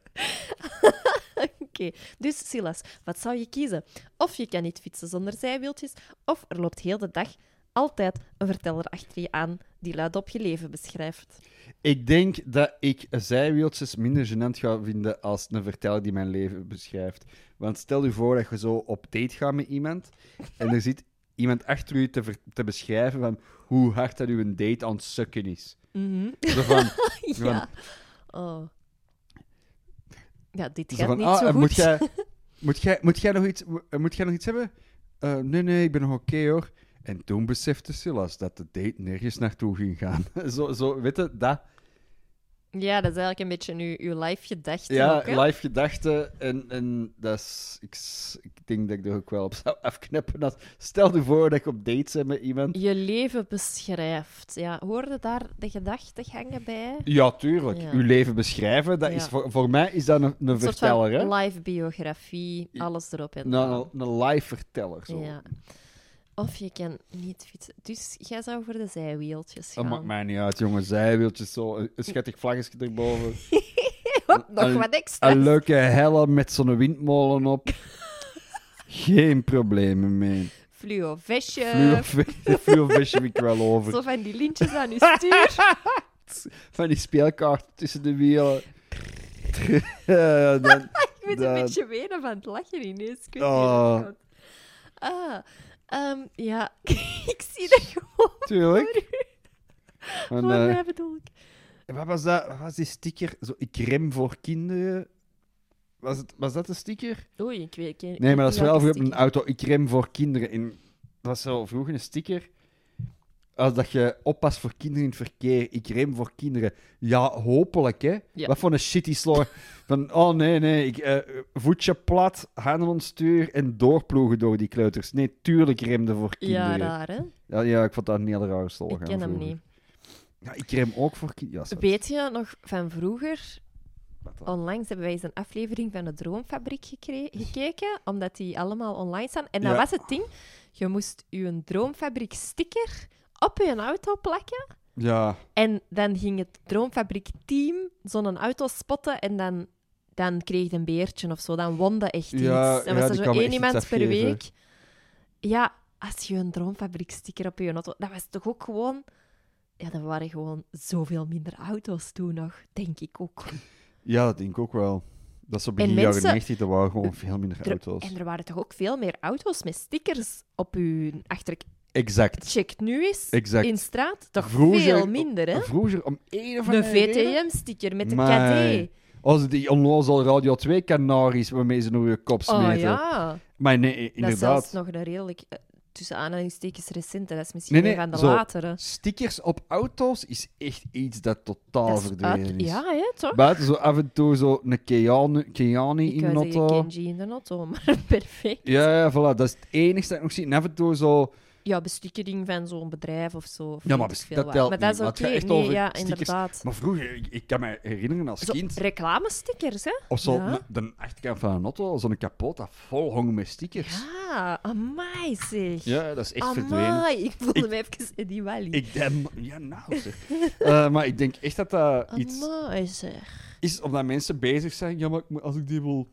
Speaker 1: *laughs* Oké, dus Silas, wat zou je kiezen? Of je kan niet fietsen zonder zijwieltjes, of er loopt heel de dag altijd een verteller achter je aan die luidop je leven beschrijft.
Speaker 2: Ik denk dat ik zijwieltjes minder gênant ga vinden als een verteller die mijn leven beschrijft. Want stel je voor dat je zo op date gaat met iemand en er zit iemand achter u te, ver- te beschrijven van hoe hard dat uw date aan het sukken is. Zo van,
Speaker 1: *laughs* Ja. Oh. Ja, dit
Speaker 2: zo
Speaker 1: gaat
Speaker 2: van,
Speaker 1: niet
Speaker 2: ah,
Speaker 1: zo
Speaker 2: eh,
Speaker 1: goed.
Speaker 2: Moet jij, moet, jij, moet, jij nog iets, mo- eh, moet jij nog iets hebben? Eh, nee, nee, ik ben nog oké hoor. En toen besefte Silas dat de date nergens naartoe ging gaan. *laughs* zo, zo, weet je, dat...
Speaker 1: *laughs* Ja, dat is eigenlijk een beetje nu uw live gedachte.
Speaker 2: Ja,
Speaker 1: ook, hè?
Speaker 2: live gedachten. En, en dat is, ik, s- ik denk dat ik er ook wel op zou *laughs* afknippen. Als, stel je voor dat ik op date ben met iemand.
Speaker 1: Je leven beschrijft. Ja, hoorde daar de gedachtegangen bij?
Speaker 2: Ja, tuurlijk.
Speaker 1: Ja.
Speaker 2: Uw leven beschrijven, dat
Speaker 1: Ja.
Speaker 2: is voor, voor mij is dat een, een
Speaker 1: Een soort
Speaker 2: verteller, hè?
Speaker 1: van live biografie,
Speaker 2: I-
Speaker 1: alles erop en
Speaker 2: Nou,
Speaker 1: eraan.
Speaker 2: een, een live verteller. Zo.
Speaker 1: Ja. Of je kan niet fietsen. Dus jij zou voor de zijwieltjes
Speaker 2: Dat
Speaker 1: gaan.
Speaker 2: maakt mij niet uit, jongen. Zijwieltjes, zo. Een een schattig vlaggetje erboven.
Speaker 1: Hop, nog
Speaker 2: Een-
Speaker 1: wat extra.
Speaker 2: een leuke helm met zo'n windmolen
Speaker 1: *laughs*
Speaker 2: op. Geen problemen mee.
Speaker 1: *laughs* Fluo vestje.
Speaker 2: Fluo- *laughs* Fluo-visje ik wel over.
Speaker 1: Zo van die lintjes aan je stuur.
Speaker 2: *laughs* van die speelkaart tussen de wielen. *laughs* Ja, dan-
Speaker 1: Ik moet een
Speaker 2: Dat-
Speaker 1: beetje wenen van het lachen ineens. Ik weet niet
Speaker 2: Oh.
Speaker 1: hoe dat komt. Ah, ehm, ja, *laughs* ik zie dat gewoon.
Speaker 2: tuurlijk.
Speaker 1: Voor
Speaker 2: En, eh,
Speaker 1: mij bedoel ik.
Speaker 2: wat was dat? Wat was die sticker? Zo, ik rem voor kinderen. Was, het, was dat de sticker?
Speaker 1: Oei, ik weet het
Speaker 2: Nee, maar dat is wel voor op een auto. Ik rem voor kinderen. In, dat was zo vroeger een sticker. Eh, als dat je oppast voor kinderen in het verkeer. Ik rem voor kinderen. Ja, hopelijk, hè.
Speaker 1: Ja.
Speaker 2: Wat voor een shitty slor. Van, oh nee, nee, ik, eh, voetje plat, handen ontstuur en doorploegen door die kleuters. Nee, tuurlijk remde voor
Speaker 1: Ja,
Speaker 2: kinderen. Ja,
Speaker 1: raar, hè?
Speaker 2: ja, ik vond dat een heel rare slor.
Speaker 1: Ik
Speaker 2: gaan
Speaker 1: ken hem
Speaker 2: vroeger.
Speaker 1: niet.
Speaker 2: Ja, ik rem ook voor kinderen. Ja, zat.
Speaker 1: Weet Oh. je nog van vroeger?
Speaker 2: Wat dan?
Speaker 1: Onlangs hebben wij eens een aflevering van de Droomfabriek gekre- gekeken, omdat die allemaal online staan. En dat
Speaker 2: Ja.
Speaker 1: was het ding. Je moest je Droomfabriek sticker op je auto plakken.
Speaker 2: Ja,
Speaker 1: En dan ging het Droomfabriek team zo'n auto spotten en dan, dan kreeg je een beertje of zo. Dan won dat echt iets.
Speaker 2: Ja,
Speaker 1: dan
Speaker 2: ja,
Speaker 1: was
Speaker 2: die
Speaker 1: er
Speaker 2: kan
Speaker 1: zo één
Speaker 2: me echt iets
Speaker 1: iemand per
Speaker 2: afgeven.
Speaker 1: week. Ja, als je een Droomfabriek sticker op je auto... Dat was toch ook gewoon... Ja, er waren gewoon zoveel minder auto's toen nog, denk ik ook.
Speaker 2: ja, dat denk ik ook wel. Dat is zo begin
Speaker 1: En
Speaker 2: jaren
Speaker 1: mensen-
Speaker 2: 90, er waren gewoon veel minder
Speaker 1: Er-
Speaker 2: auto's.
Speaker 1: En er waren toch ook veel meer auto's met stickers op uw achter.
Speaker 2: Exact.
Speaker 1: Check nu eens.
Speaker 2: Exact.
Speaker 1: In straat toch
Speaker 2: Vroeger-
Speaker 1: veel minder, hè?
Speaker 2: Vroeger, om één of
Speaker 1: De
Speaker 2: andere reden-
Speaker 1: VTM-sticker met de
Speaker 2: Maar-
Speaker 1: KD.
Speaker 2: Als die onnozel Radio 2 kanaries waarmee ze door je kop smeten.
Speaker 1: Oh ja.
Speaker 2: Maar nee,
Speaker 1: Dat is zelfs
Speaker 2: inderdaad.
Speaker 1: nog een redelijk, eh, tussen aanhalingstekens, recente. Dat is misschien
Speaker 2: Nee,
Speaker 1: een
Speaker 2: nee,
Speaker 1: van de
Speaker 2: zo.
Speaker 1: latere.
Speaker 2: Stickers op auto's is echt iets dat totaal
Speaker 1: Dat is
Speaker 2: verdwenen
Speaker 1: uit-
Speaker 2: is.
Speaker 1: Ja, hè, toch?
Speaker 2: Buiten zo af en toe zo een Keanu, Keanu
Speaker 1: Ik
Speaker 2: in
Speaker 1: wou
Speaker 2: een
Speaker 1: zeggen
Speaker 2: auto.
Speaker 1: Kenji in de auto, *laughs* maar perfect.
Speaker 2: Ja, ja, voilà. Dat is het enige dat ik nog zie. En af en toe zo...
Speaker 1: Ja, bestikkering van zo'n bedrijf of zo. of
Speaker 2: Ja,
Speaker 1: weet
Speaker 2: maar
Speaker 1: ik
Speaker 2: best-
Speaker 1: veel
Speaker 2: dat
Speaker 1: wat.
Speaker 2: telt
Speaker 1: Maar dat is
Speaker 2: niet, want
Speaker 1: oké.
Speaker 2: het gaat echt
Speaker 1: Nee,
Speaker 2: over
Speaker 1: ja,
Speaker 2: stickers.
Speaker 1: inderdaad.
Speaker 2: Maar vroeger, ik, ik kan me herinneren als
Speaker 1: Zo,
Speaker 2: kind...
Speaker 1: reclamestickers, hè?
Speaker 2: Of zo
Speaker 1: Ja.
Speaker 2: na- de achterkant van een auto, zo'n kapot dat vol hong met stickers.
Speaker 1: Ja, amai zeg.
Speaker 2: Ja, dat is echt verdwenen.
Speaker 1: Amai, ik voelde
Speaker 2: Ik-
Speaker 1: me even Eddie Wally.
Speaker 2: Ik denk... Ja, nou zeg. Eh, maar ik denk echt dat dat iets...
Speaker 1: Amai zeg.
Speaker 2: is omdat mensen bezig zijn. Ja, maar ik moet- als ik die wil,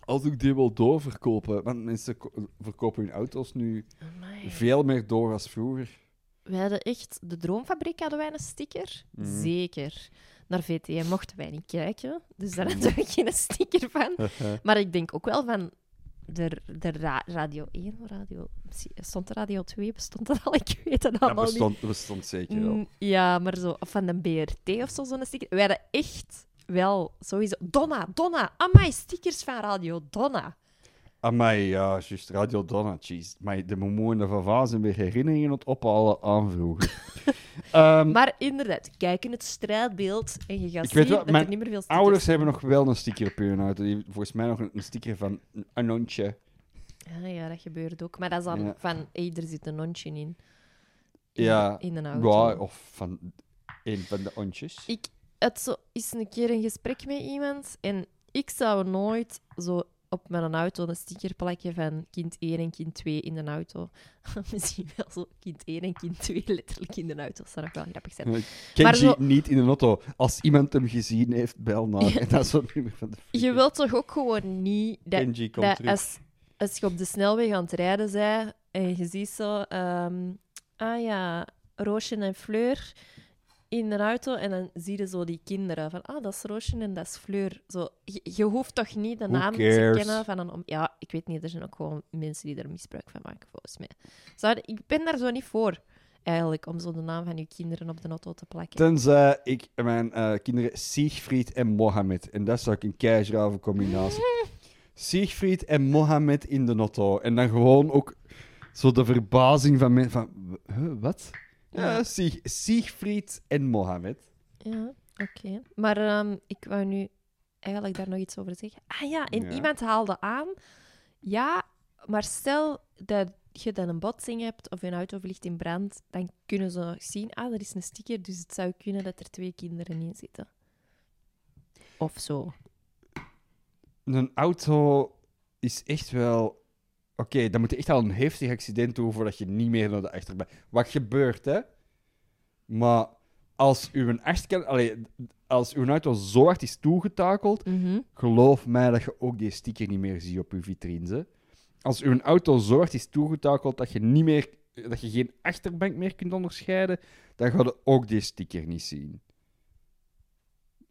Speaker 2: als ik die wil doorverkopen. Want mensen ko- verkopen hun auto's nu
Speaker 1: Amai.
Speaker 2: veel meer door als vroeger.
Speaker 1: Wij hadden echt... De Droomfabriek hadden wij een sticker.
Speaker 2: Mhm.
Speaker 1: Zeker. Naar VTM mochten wij niet kijken. Dus
Speaker 2: Mhm.
Speaker 1: daar hadden we geen sticker
Speaker 2: *laughs*
Speaker 1: van. Maar ik denk ook wel van... De, de ra- Radio 1, Radio... misschien- Stond de Radio 2? Bestond dat al? *laughs* Ik weet het
Speaker 2: Dat
Speaker 1: allemaal niet.
Speaker 2: bestond, bestond zeker wel.
Speaker 1: Mm, Ja, maar zo of van de BRT of zo, zo'n sticker. Wij hadden echt wel sowieso... Donna, Donna, amai, stickers van Radio Donna.
Speaker 2: Amai, Ah, ja, juist Radio Donna, jeez. Maar de momoen en de Vava zijn weer herinneringen aan het ophalen aan vroeger. Ehm,
Speaker 1: Maar inderdaad, kijk in het straatbeeld en je gaat
Speaker 2: Ik
Speaker 1: zien
Speaker 2: weet wel,
Speaker 1: dat er
Speaker 2: mijn
Speaker 1: niet meer veel stickers
Speaker 2: Ouders hebben nog wel een sticker op hun auto. Die hebben volgens mij nog een, een sticker van een annontje.
Speaker 1: Ah, ja, dat gebeurt ook. Maar dat is dan
Speaker 2: Ja.
Speaker 1: van, hey, er zit een hondje in. in.
Speaker 2: Ja.
Speaker 1: In een auto.
Speaker 2: Ja, of van een van de *laughs* ontjes.
Speaker 1: Ik had zo eens een keer een gesprek met iemand en ik zou nooit zo op mijn auto een sticker plakken van kind 1 en kind 2 in de auto. *laughs* Misschien wel zo kind 1 en kind 2 letterlijk in de auto. Dat zou nog wel grappig zijn. Maar
Speaker 2: Kenji
Speaker 1: zo-
Speaker 2: niet in een auto. Als iemand hem gezien heeft, bel
Speaker 1: *laughs*
Speaker 2: naar. En dat is wat nummer van de
Speaker 1: Je wilt toch ook gewoon niet dat,
Speaker 2: Kenji komt
Speaker 1: dat
Speaker 2: terug.
Speaker 1: als, als je op de snelweg aan het rijden bent en je ziet zo, ehm, ah ja, Roosje en Fleur in een auto en dan zie je zo die kinderen van, ah, dat is Roosje en dat is Fleur. Zo, je, je hoeft toch niet de
Speaker 2: Who
Speaker 1: naam te
Speaker 2: cares?
Speaker 1: kennen van een... om- Ja, ik weet niet, er zijn ook gewoon mensen die er misbruik van maken, volgens mij. Zou, ik ben daar zo niet voor, eigenlijk, om zo de naam van je kinderen op de auto te plakken.
Speaker 2: Tenzij ik mijn eh, kinderen Siegfried en Mohammed. En dat zou ik een keizerave combinatie.
Speaker 1: *laughs*
Speaker 2: Siegfried en Mohammed in de auto. En dan gewoon ook zo de verbazing van mensen. Van, w- huh, wat? Ja, Sieg, Siegfried en Mohammed.
Speaker 1: Ja, oké. Maar ehm, ik wou nu eigenlijk daar nog iets over zeggen. Ah ja, en
Speaker 2: Ja.
Speaker 1: iemand haalde aan. Ja, maar stel dat je dan een botsing hebt of je auto vliegt in brand, dan kunnen ze nog zien, ah, er is een sticker, dus het zou kunnen dat er twee kinderen in zitten. Of zo.
Speaker 2: Een auto is echt wel. Oké, dan moet je echt al een heftig accident doen voordat je niet meer naar de achterbij. Wat gebeurt, hè? Maar als uw achterkant, allee, als uw auto zo hard is toegetakeld,
Speaker 1: Mhm.
Speaker 2: geloof mij dat je ook die sticker niet meer ziet op uw vitrines. hè. Als uw auto zo hard is toegetakeld dat je niet meer, dat je geen achterbank meer kunt onderscheiden, dan ga je ook die sticker niet zien.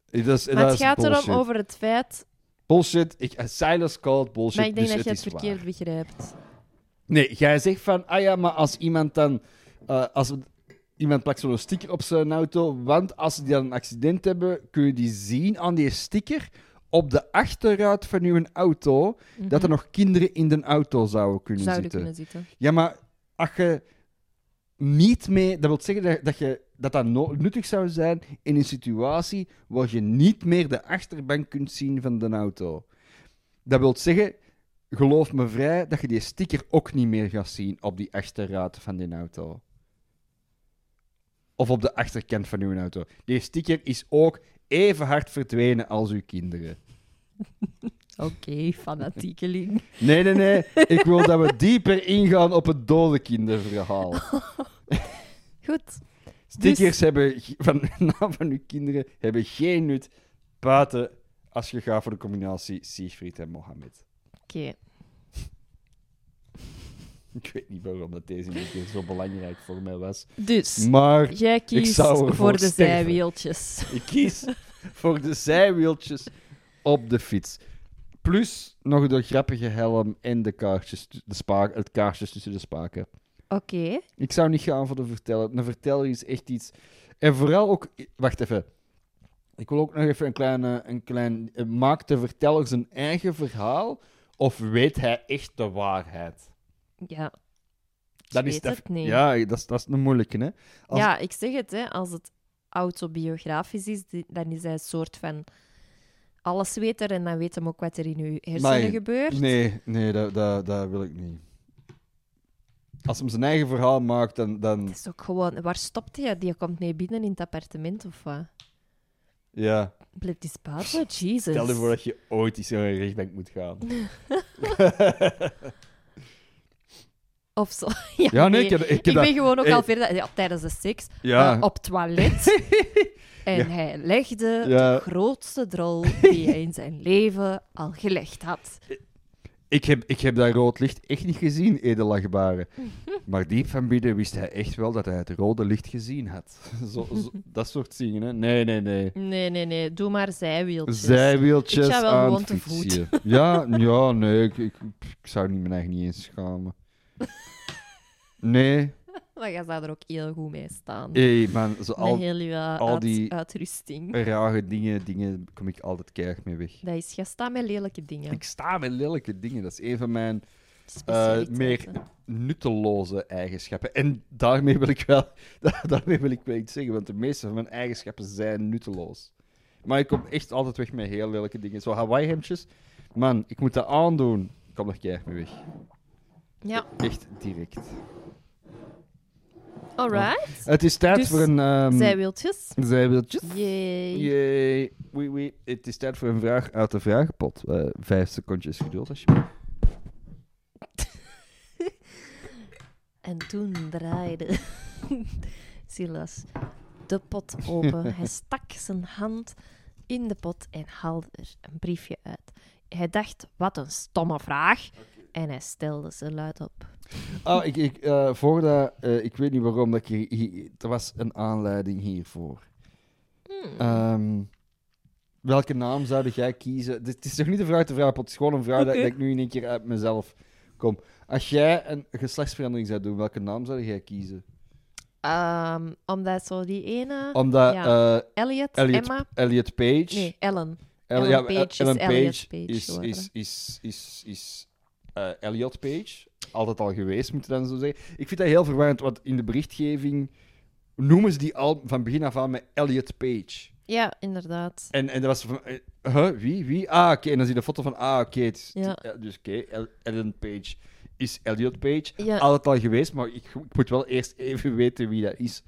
Speaker 2: Dat is,
Speaker 1: Maar
Speaker 2: dat
Speaker 1: het
Speaker 2: is
Speaker 1: gaat
Speaker 2: bullshit.
Speaker 1: erom over het feit,
Speaker 2: Bullshit. Ik, eh, silence called bullshit.
Speaker 1: maar ik denk
Speaker 2: dus
Speaker 1: dat je het
Speaker 2: is
Speaker 1: verkeerd
Speaker 2: waar.
Speaker 1: begrijpt.
Speaker 2: Nee, jij zegt van, ah ja, maar als iemand dan... eh, als iemand plakt zo'n sticker op zijn auto, want als ze dan een accident hebben, kun je die zien aan die sticker op de achterruit van uw auto, dat er nog kinderen in de auto zouden kunnen
Speaker 1: Mhm. Zouden
Speaker 2: zitten.
Speaker 1: kunnen zitten.
Speaker 2: Ja, maar als je niet mee... Dat wil zeggen dat, dat je, dat, dat no- nuttig zou zijn in een situatie waar je niet meer de achterbank kunt zien van de auto. Dat wil zeggen, geloof me vrij, dat je die sticker ook niet meer gaat zien op die achterruit van die auto. Of op de achterkant van uw auto. Die sticker is ook even hard verdwenen als uw kinderen.
Speaker 1: Oké, fanatiekeling.
Speaker 2: Nee, nee, nee. Ik wil dat we dieper ingaan op het dode kinderverhaal.
Speaker 1: Goed.
Speaker 2: Stickers hebben ge- van *laughs* de naam van uw kinderen hebben geen nut buiten als je gaat voor de combinatie Siegfried en Mohammed. *laughs*
Speaker 1: Oké.
Speaker 2: Ik weet niet waarom dat deze niet keer zo belangrijk voor mij was.
Speaker 1: Dus,
Speaker 2: Maar
Speaker 1: jij kiest
Speaker 2: zou
Speaker 1: voor,
Speaker 2: ervoor
Speaker 1: de
Speaker 2: sterven.
Speaker 1: zijwieltjes.
Speaker 2: ik kies voor de zijwieltjes op de fiets. Plus nog de grappige helm en de kaarsjes, tu- de spa- het kaarsjes tussen de spaken.
Speaker 1: Oké.
Speaker 2: Ik zou niet gaan voor de verteller. Een verteller is echt iets. En vooral ook. Wacht even. Ik wil ook nog even een kleine. Een klein, eh, maakt de verteller zijn eigen verhaal? Of weet hij echt de waarheid?
Speaker 1: Ja. Ik
Speaker 2: Dat is
Speaker 1: weet
Speaker 2: de-
Speaker 1: het niet.
Speaker 2: Ja, dat is, dat is een moeilijke, hè? als-
Speaker 1: Ja, ik zeg het, hè, als het autobiografisch is, die- dan is hij een soort van allesweter en dan weet hem ook wat er in uw hersenen
Speaker 2: Nee,
Speaker 1: gebeurt.
Speaker 2: Nee, nee, dat, dat, dat wil ik niet. Als hem zijn eigen verhaal maakt, dan. dan
Speaker 1: Het is ook gewoon, waar stopt hij? Die komt niet binnen in het appartement of wat?
Speaker 2: ja.
Speaker 1: Blijft die spaten? Jesus.
Speaker 2: Stel je voor dat je ooit eens naar een rechtbank moet *laughs* gaan.
Speaker 1: Of zo. *laughs* Ja,
Speaker 2: Ja, nee, ik heb- ik heb dat-
Speaker 1: ben gewoon ook
Speaker 2: eh,
Speaker 1: al verder ja, tijdens de seks
Speaker 2: Ja.
Speaker 1: eh, op het toilet.
Speaker 2: *laughs*
Speaker 1: en hij legde
Speaker 2: Ja.
Speaker 1: de grootste drol die hij in zijn leven al gelegd had.
Speaker 2: Ik heb, ik heb dat rood licht echt niet gezien,
Speaker 1: *laughs*
Speaker 2: edelachtbare. Maar diep van binnen wist hij echt wel dat hij het rode licht gezien had. *laughs* Zo, zo- dat soort zingen, hè? Nee, nee, nee.
Speaker 1: Nee, nee, nee. Doe maar zijwieltjes.
Speaker 2: Zijwieltjes
Speaker 1: Ik ga wel
Speaker 2: aan
Speaker 1: gewoon
Speaker 2: het
Speaker 1: te voet.
Speaker 2: fietsje. Ja, ja, nee. Ik, ik, ik zou niet mijn eigen niet
Speaker 1: *laughs*
Speaker 2: eens schamen. Nee.
Speaker 1: Maar jij zou er ook heel goed mee staan.
Speaker 2: Hé, man. Zo
Speaker 1: Met
Speaker 2: al
Speaker 1: heel je
Speaker 2: al
Speaker 1: uit-
Speaker 2: die- Eh,
Speaker 1: uitrusting.
Speaker 2: rare dingen, dingen kom ik altijd keihard mee weg.
Speaker 1: Dat is, jij staat met lelijke dingen.
Speaker 2: Ik sta met lelijke dingen. Dat is een van mijn eh
Speaker 1: Specialiteiten.
Speaker 2: meer nutteloze eigenschappen. En daarmee wil ik wel *laughs* da- daarmee wil ik wel iets zeggen, want de meeste van mijn eigenschappen zijn nutteloos. Maar ik kom echt altijd weg met heel lelijke dingen. Zo Hawaii-hemdjes. Man, ik moet dat aandoen. Ik kom er keihard mee weg.
Speaker 1: Ja,
Speaker 2: Echt direct.
Speaker 1: alright.
Speaker 2: Het is tijd
Speaker 1: Dus,
Speaker 2: voor een... ehm
Speaker 1: Zijwieltjes.
Speaker 2: Zijwieltjes.
Speaker 1: Yay.
Speaker 2: Yay. Oui, oui. Het is tijd voor een vraag uit de vragenpot. Eh, vijf secondjes geduld, alsjeblieft.
Speaker 1: En toen draaide *laughs* Silas de pot
Speaker 2: *laughs*
Speaker 1: open. Hij stak zijn hand in de pot en haalde er een briefje uit. Hij dacht, wat een stomme vraag. En hij stelde ze luid op.
Speaker 2: Oh, ik, ik, eh, voordat, eh, ik weet niet waarom, dat ik hier- hier- er was een aanleiding hiervoor.
Speaker 1: Hmm.
Speaker 2: Ehm, welke naam zou jij kiezen? Dit het is toch niet de vraag te vragen, het is gewoon een vraag dat, dat ik nu in één keer uit mezelf kom. Als jij een geslachtsverandering zou doen, welke naam zou jij kiezen?
Speaker 1: Ehm, omdat zo die ene...
Speaker 2: Omdat
Speaker 1: ja.
Speaker 2: eh,
Speaker 1: Elliot,
Speaker 2: Elliot,
Speaker 1: Emma...
Speaker 2: Elliot Page...
Speaker 1: Nee, Ellen.
Speaker 2: El-
Speaker 1: Ellen
Speaker 2: ja,
Speaker 1: Page
Speaker 2: El-
Speaker 1: is
Speaker 2: Ellen
Speaker 1: Elliot
Speaker 2: Page
Speaker 1: Page
Speaker 2: is,
Speaker 1: geworden.
Speaker 2: is, is, is, is eh, Elliot Page. Altijd al geweest, moet je dan zo zeggen. Ik vind dat heel verwarrend, want in de berichtgeving noemen ze die al van begin af aan met Elliot Page.
Speaker 1: Ja, inderdaad.
Speaker 2: En, en dat was van... eh, huh, wie, wie? Ah, oké. En dan zie je de foto van... Ah, oké. het is-
Speaker 1: Ja.
Speaker 2: eh, Dus oké, El- Ellen Page is Elliot Page.
Speaker 1: Ja.
Speaker 2: Altijd al geweest, maar ik, ik moet wel eerst even weten wie dat is.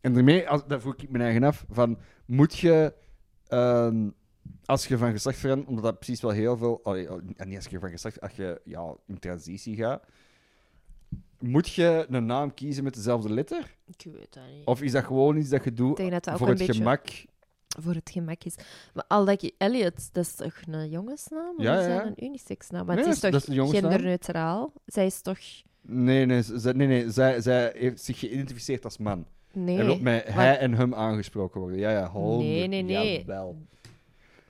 Speaker 2: En daarmee, als, daar vroeg ik mijn eigen af, van... Moet je... ehm, als je van geslacht verandert, omdat dat precies wel heel veel... allee, al- en niet als je van geslacht... Als je ja, in transitie gaat... Moet je een naam kiezen met dezelfde letter?
Speaker 1: Ik weet dat niet.
Speaker 2: Of is dat gewoon iets dat je doet
Speaker 1: denk dat dat ook
Speaker 2: voor
Speaker 1: een
Speaker 2: het
Speaker 1: beetje-
Speaker 2: gemak?
Speaker 1: Voor het gemak is. Maar al dat je Elliot, dat is toch een jongensnaam?
Speaker 2: Ja,
Speaker 1: Ja,
Speaker 2: ja, ja.
Speaker 1: een unisexnaam? Maar
Speaker 2: Nee,
Speaker 1: het is
Speaker 2: dat
Speaker 1: toch
Speaker 2: is- dat is een jongensnaam.
Speaker 1: genderneutraal? Zij is toch...
Speaker 2: Nee, nee, z- zij, nee, nee zij, zij heeft zich geïdentificeerd als man.
Speaker 1: Nee.
Speaker 2: En wil met
Speaker 1: want-
Speaker 2: hij en hem aangesproken worden. Ja, ja, honderd.
Speaker 1: Nee, nee, nee.
Speaker 2: Jawel.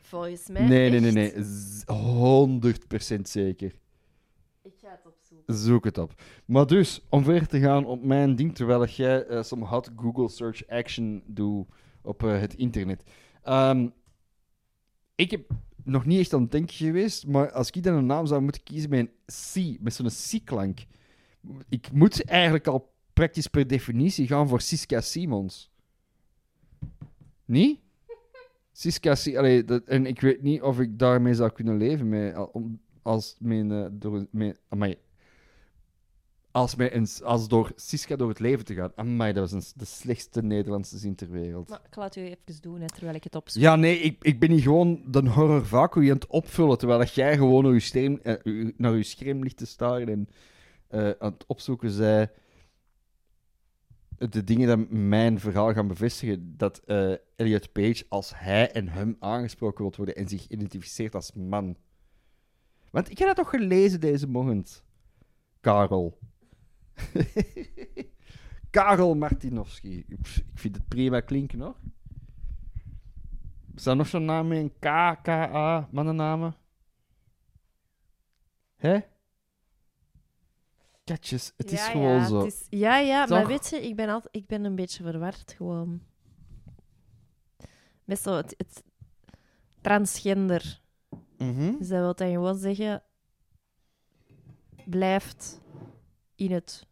Speaker 1: Volgens mij.
Speaker 2: Nee, nee,
Speaker 1: echt.
Speaker 2: nee, nee. Z- 100% zeker.
Speaker 1: Ik ga het opzoeken.
Speaker 2: Zoek het op. Maar dus, om verder te gaan op mijn ding, terwijl jij eh some hot Google search action doet op eh, het internet. Ehm, ik heb nog niet echt aan het denken geweest, maar als ik dan een naam zou moeten kiezen met een C, met zo'n C-klank. Ik moet eigenlijk al praktisch per definitie gaan voor Siska Simons. Niet? Siska Si- allee, dat, en ik weet niet of ik daarmee zou kunnen leven. Met, al- om- als, mijn, eh, door, mijn, amai. als, mijn, een- als door Siska door het leven te gaan. Amai, dat was een, de slechtste Nederlandse zin ter wereld.
Speaker 1: Maar ik laat u even doen hè, terwijl ik het opzoek.
Speaker 2: Ja, nee, ik, ik ben hier gewoon de horror vacuüm aan het opvullen, terwijl dat jij gewoon naar je scherm, eh, u- naar uw scherm ligt te staren en eh, aan het opzoeken zij de dingen dat mijn verhaal gaan bevestigen, dat eh, Elliot Page als hij en hem aangesproken wilt worden en zich identificeert als man. Want ik heb dat toch gelezen deze morgen, Karel. *laughs* Karel Martinovski. Pff, Ik vind het prima klinken, hoor. Zijn nog zo'n namen in K, K, A, mannennamen? Hè? Katjes, het is
Speaker 1: ja,
Speaker 2: gewoon
Speaker 1: ja,
Speaker 2: zo.
Speaker 1: het is- ja, ja, maar
Speaker 2: Toch?
Speaker 1: weet je, ik ben, altijd, ik ben een beetje verward gewoon. Met zo het, het transgender.
Speaker 2: Mhm.
Speaker 1: Dus dat wil dan gewoon zeggen... Blijft in het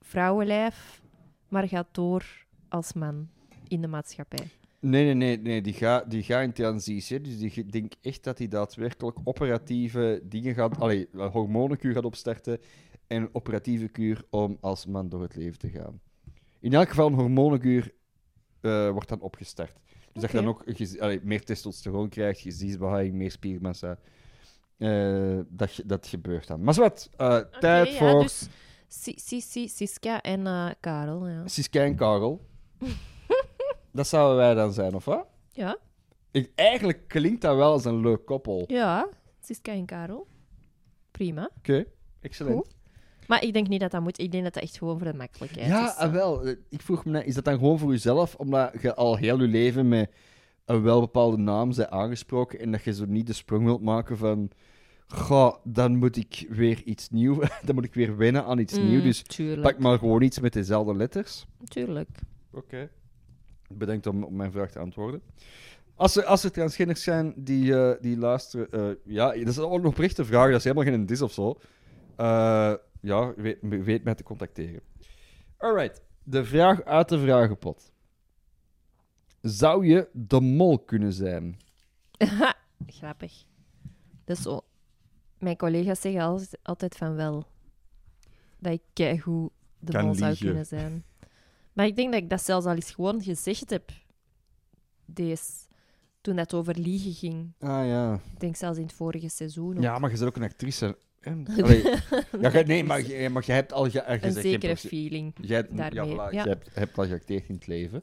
Speaker 1: vrouwenlijf, maar gaat door als man in de maatschappij.
Speaker 2: Nee, nee, nee, nee. Die gaat die ga in transitie. Dus die- ik denk echt dat hij daadwerkelijk operatieve dingen gaat... Allee, een hormonenkuur gaat opstarten en een operatieve kuur om als man door het leven te gaan. In elk geval, een hormonenkuur eh, wordt dan opgestart. Dus dat je
Speaker 1: Oké.
Speaker 2: dan ook gez- allee, meer testosteron krijgt, gezichtsbehaling, meer spiermassa. Eh, dat, ge- dat gebeurt dan. Maar zwart, eh, tijd
Speaker 1: Oké, ja,
Speaker 2: voor
Speaker 1: dus Si- Si- Si- Siska en eh, Karel, ja.
Speaker 2: Siska en Karel.
Speaker 1: *laughs*
Speaker 2: dat zouden wij dan zijn, of wat?
Speaker 1: Ja,
Speaker 2: Ik, eigenlijk klinkt dat wel als een leuk koppel. Oké,
Speaker 1: ja. Siska en Karel. Prima.
Speaker 2: excellent.
Speaker 1: Goed. Maar ik denk niet dat dat moet. Ik denk dat dat echt gewoon voor de makkelijkheid
Speaker 2: Ja,
Speaker 1: is.
Speaker 2: ah, wel. eh, Ik vroeg me, net, is dat dan gewoon voor jezelf, omdat je al heel je leven met een welbepaalde naam bent aangesproken en dat je zo niet de sprong wilt maken van, goh, dan moet ik weer iets nieuws, *laughs* dan moet ik weer wennen aan
Speaker 1: Mm.
Speaker 2: iets nieuws, dus
Speaker 1: tuurlijk.
Speaker 2: pak maar gewoon iets met dezelfde letters.
Speaker 1: Tuurlijk. *laughs*
Speaker 2: Oké. Bedankt om op mijn vraag te antwoorden. Als er, als er transgenders zijn die, eh, die luisteren... eh, ja, dat is ook een oprechte vraag. Dat is helemaal geen dis of zo. Eh, ja, weet, weet mij te contacteren. Alright. De vraag uit de vragenpot. Zou je de mol kunnen zijn?
Speaker 1: Grappig. Dus zo. Mijn collega's zeggen als- altijd van wel. Dat ik keigoed de
Speaker 2: Kan
Speaker 1: mol zou
Speaker 2: liegen.
Speaker 1: kunnen zijn. Maar ik denk dat ik dat zelfs al eens gewoon gezegd heb. Deze. Toen dat over liegen ging.
Speaker 2: Ah ja.
Speaker 1: Ik denk zelfs in het vorige seizoen. of-
Speaker 2: Ja, maar je bent ook een actrice. *laughs* hè? Allee, ja, ge- nee, maar, je- maar je hebt al... Je, je
Speaker 1: Een
Speaker 2: zegt geen
Speaker 1: zekere
Speaker 2: profe-
Speaker 1: feeling.
Speaker 2: Jij hebt- ja,
Speaker 1: daarmee,
Speaker 2: voilà,
Speaker 1: ja.
Speaker 2: Je hebt, hebt al geacteerd in het leven.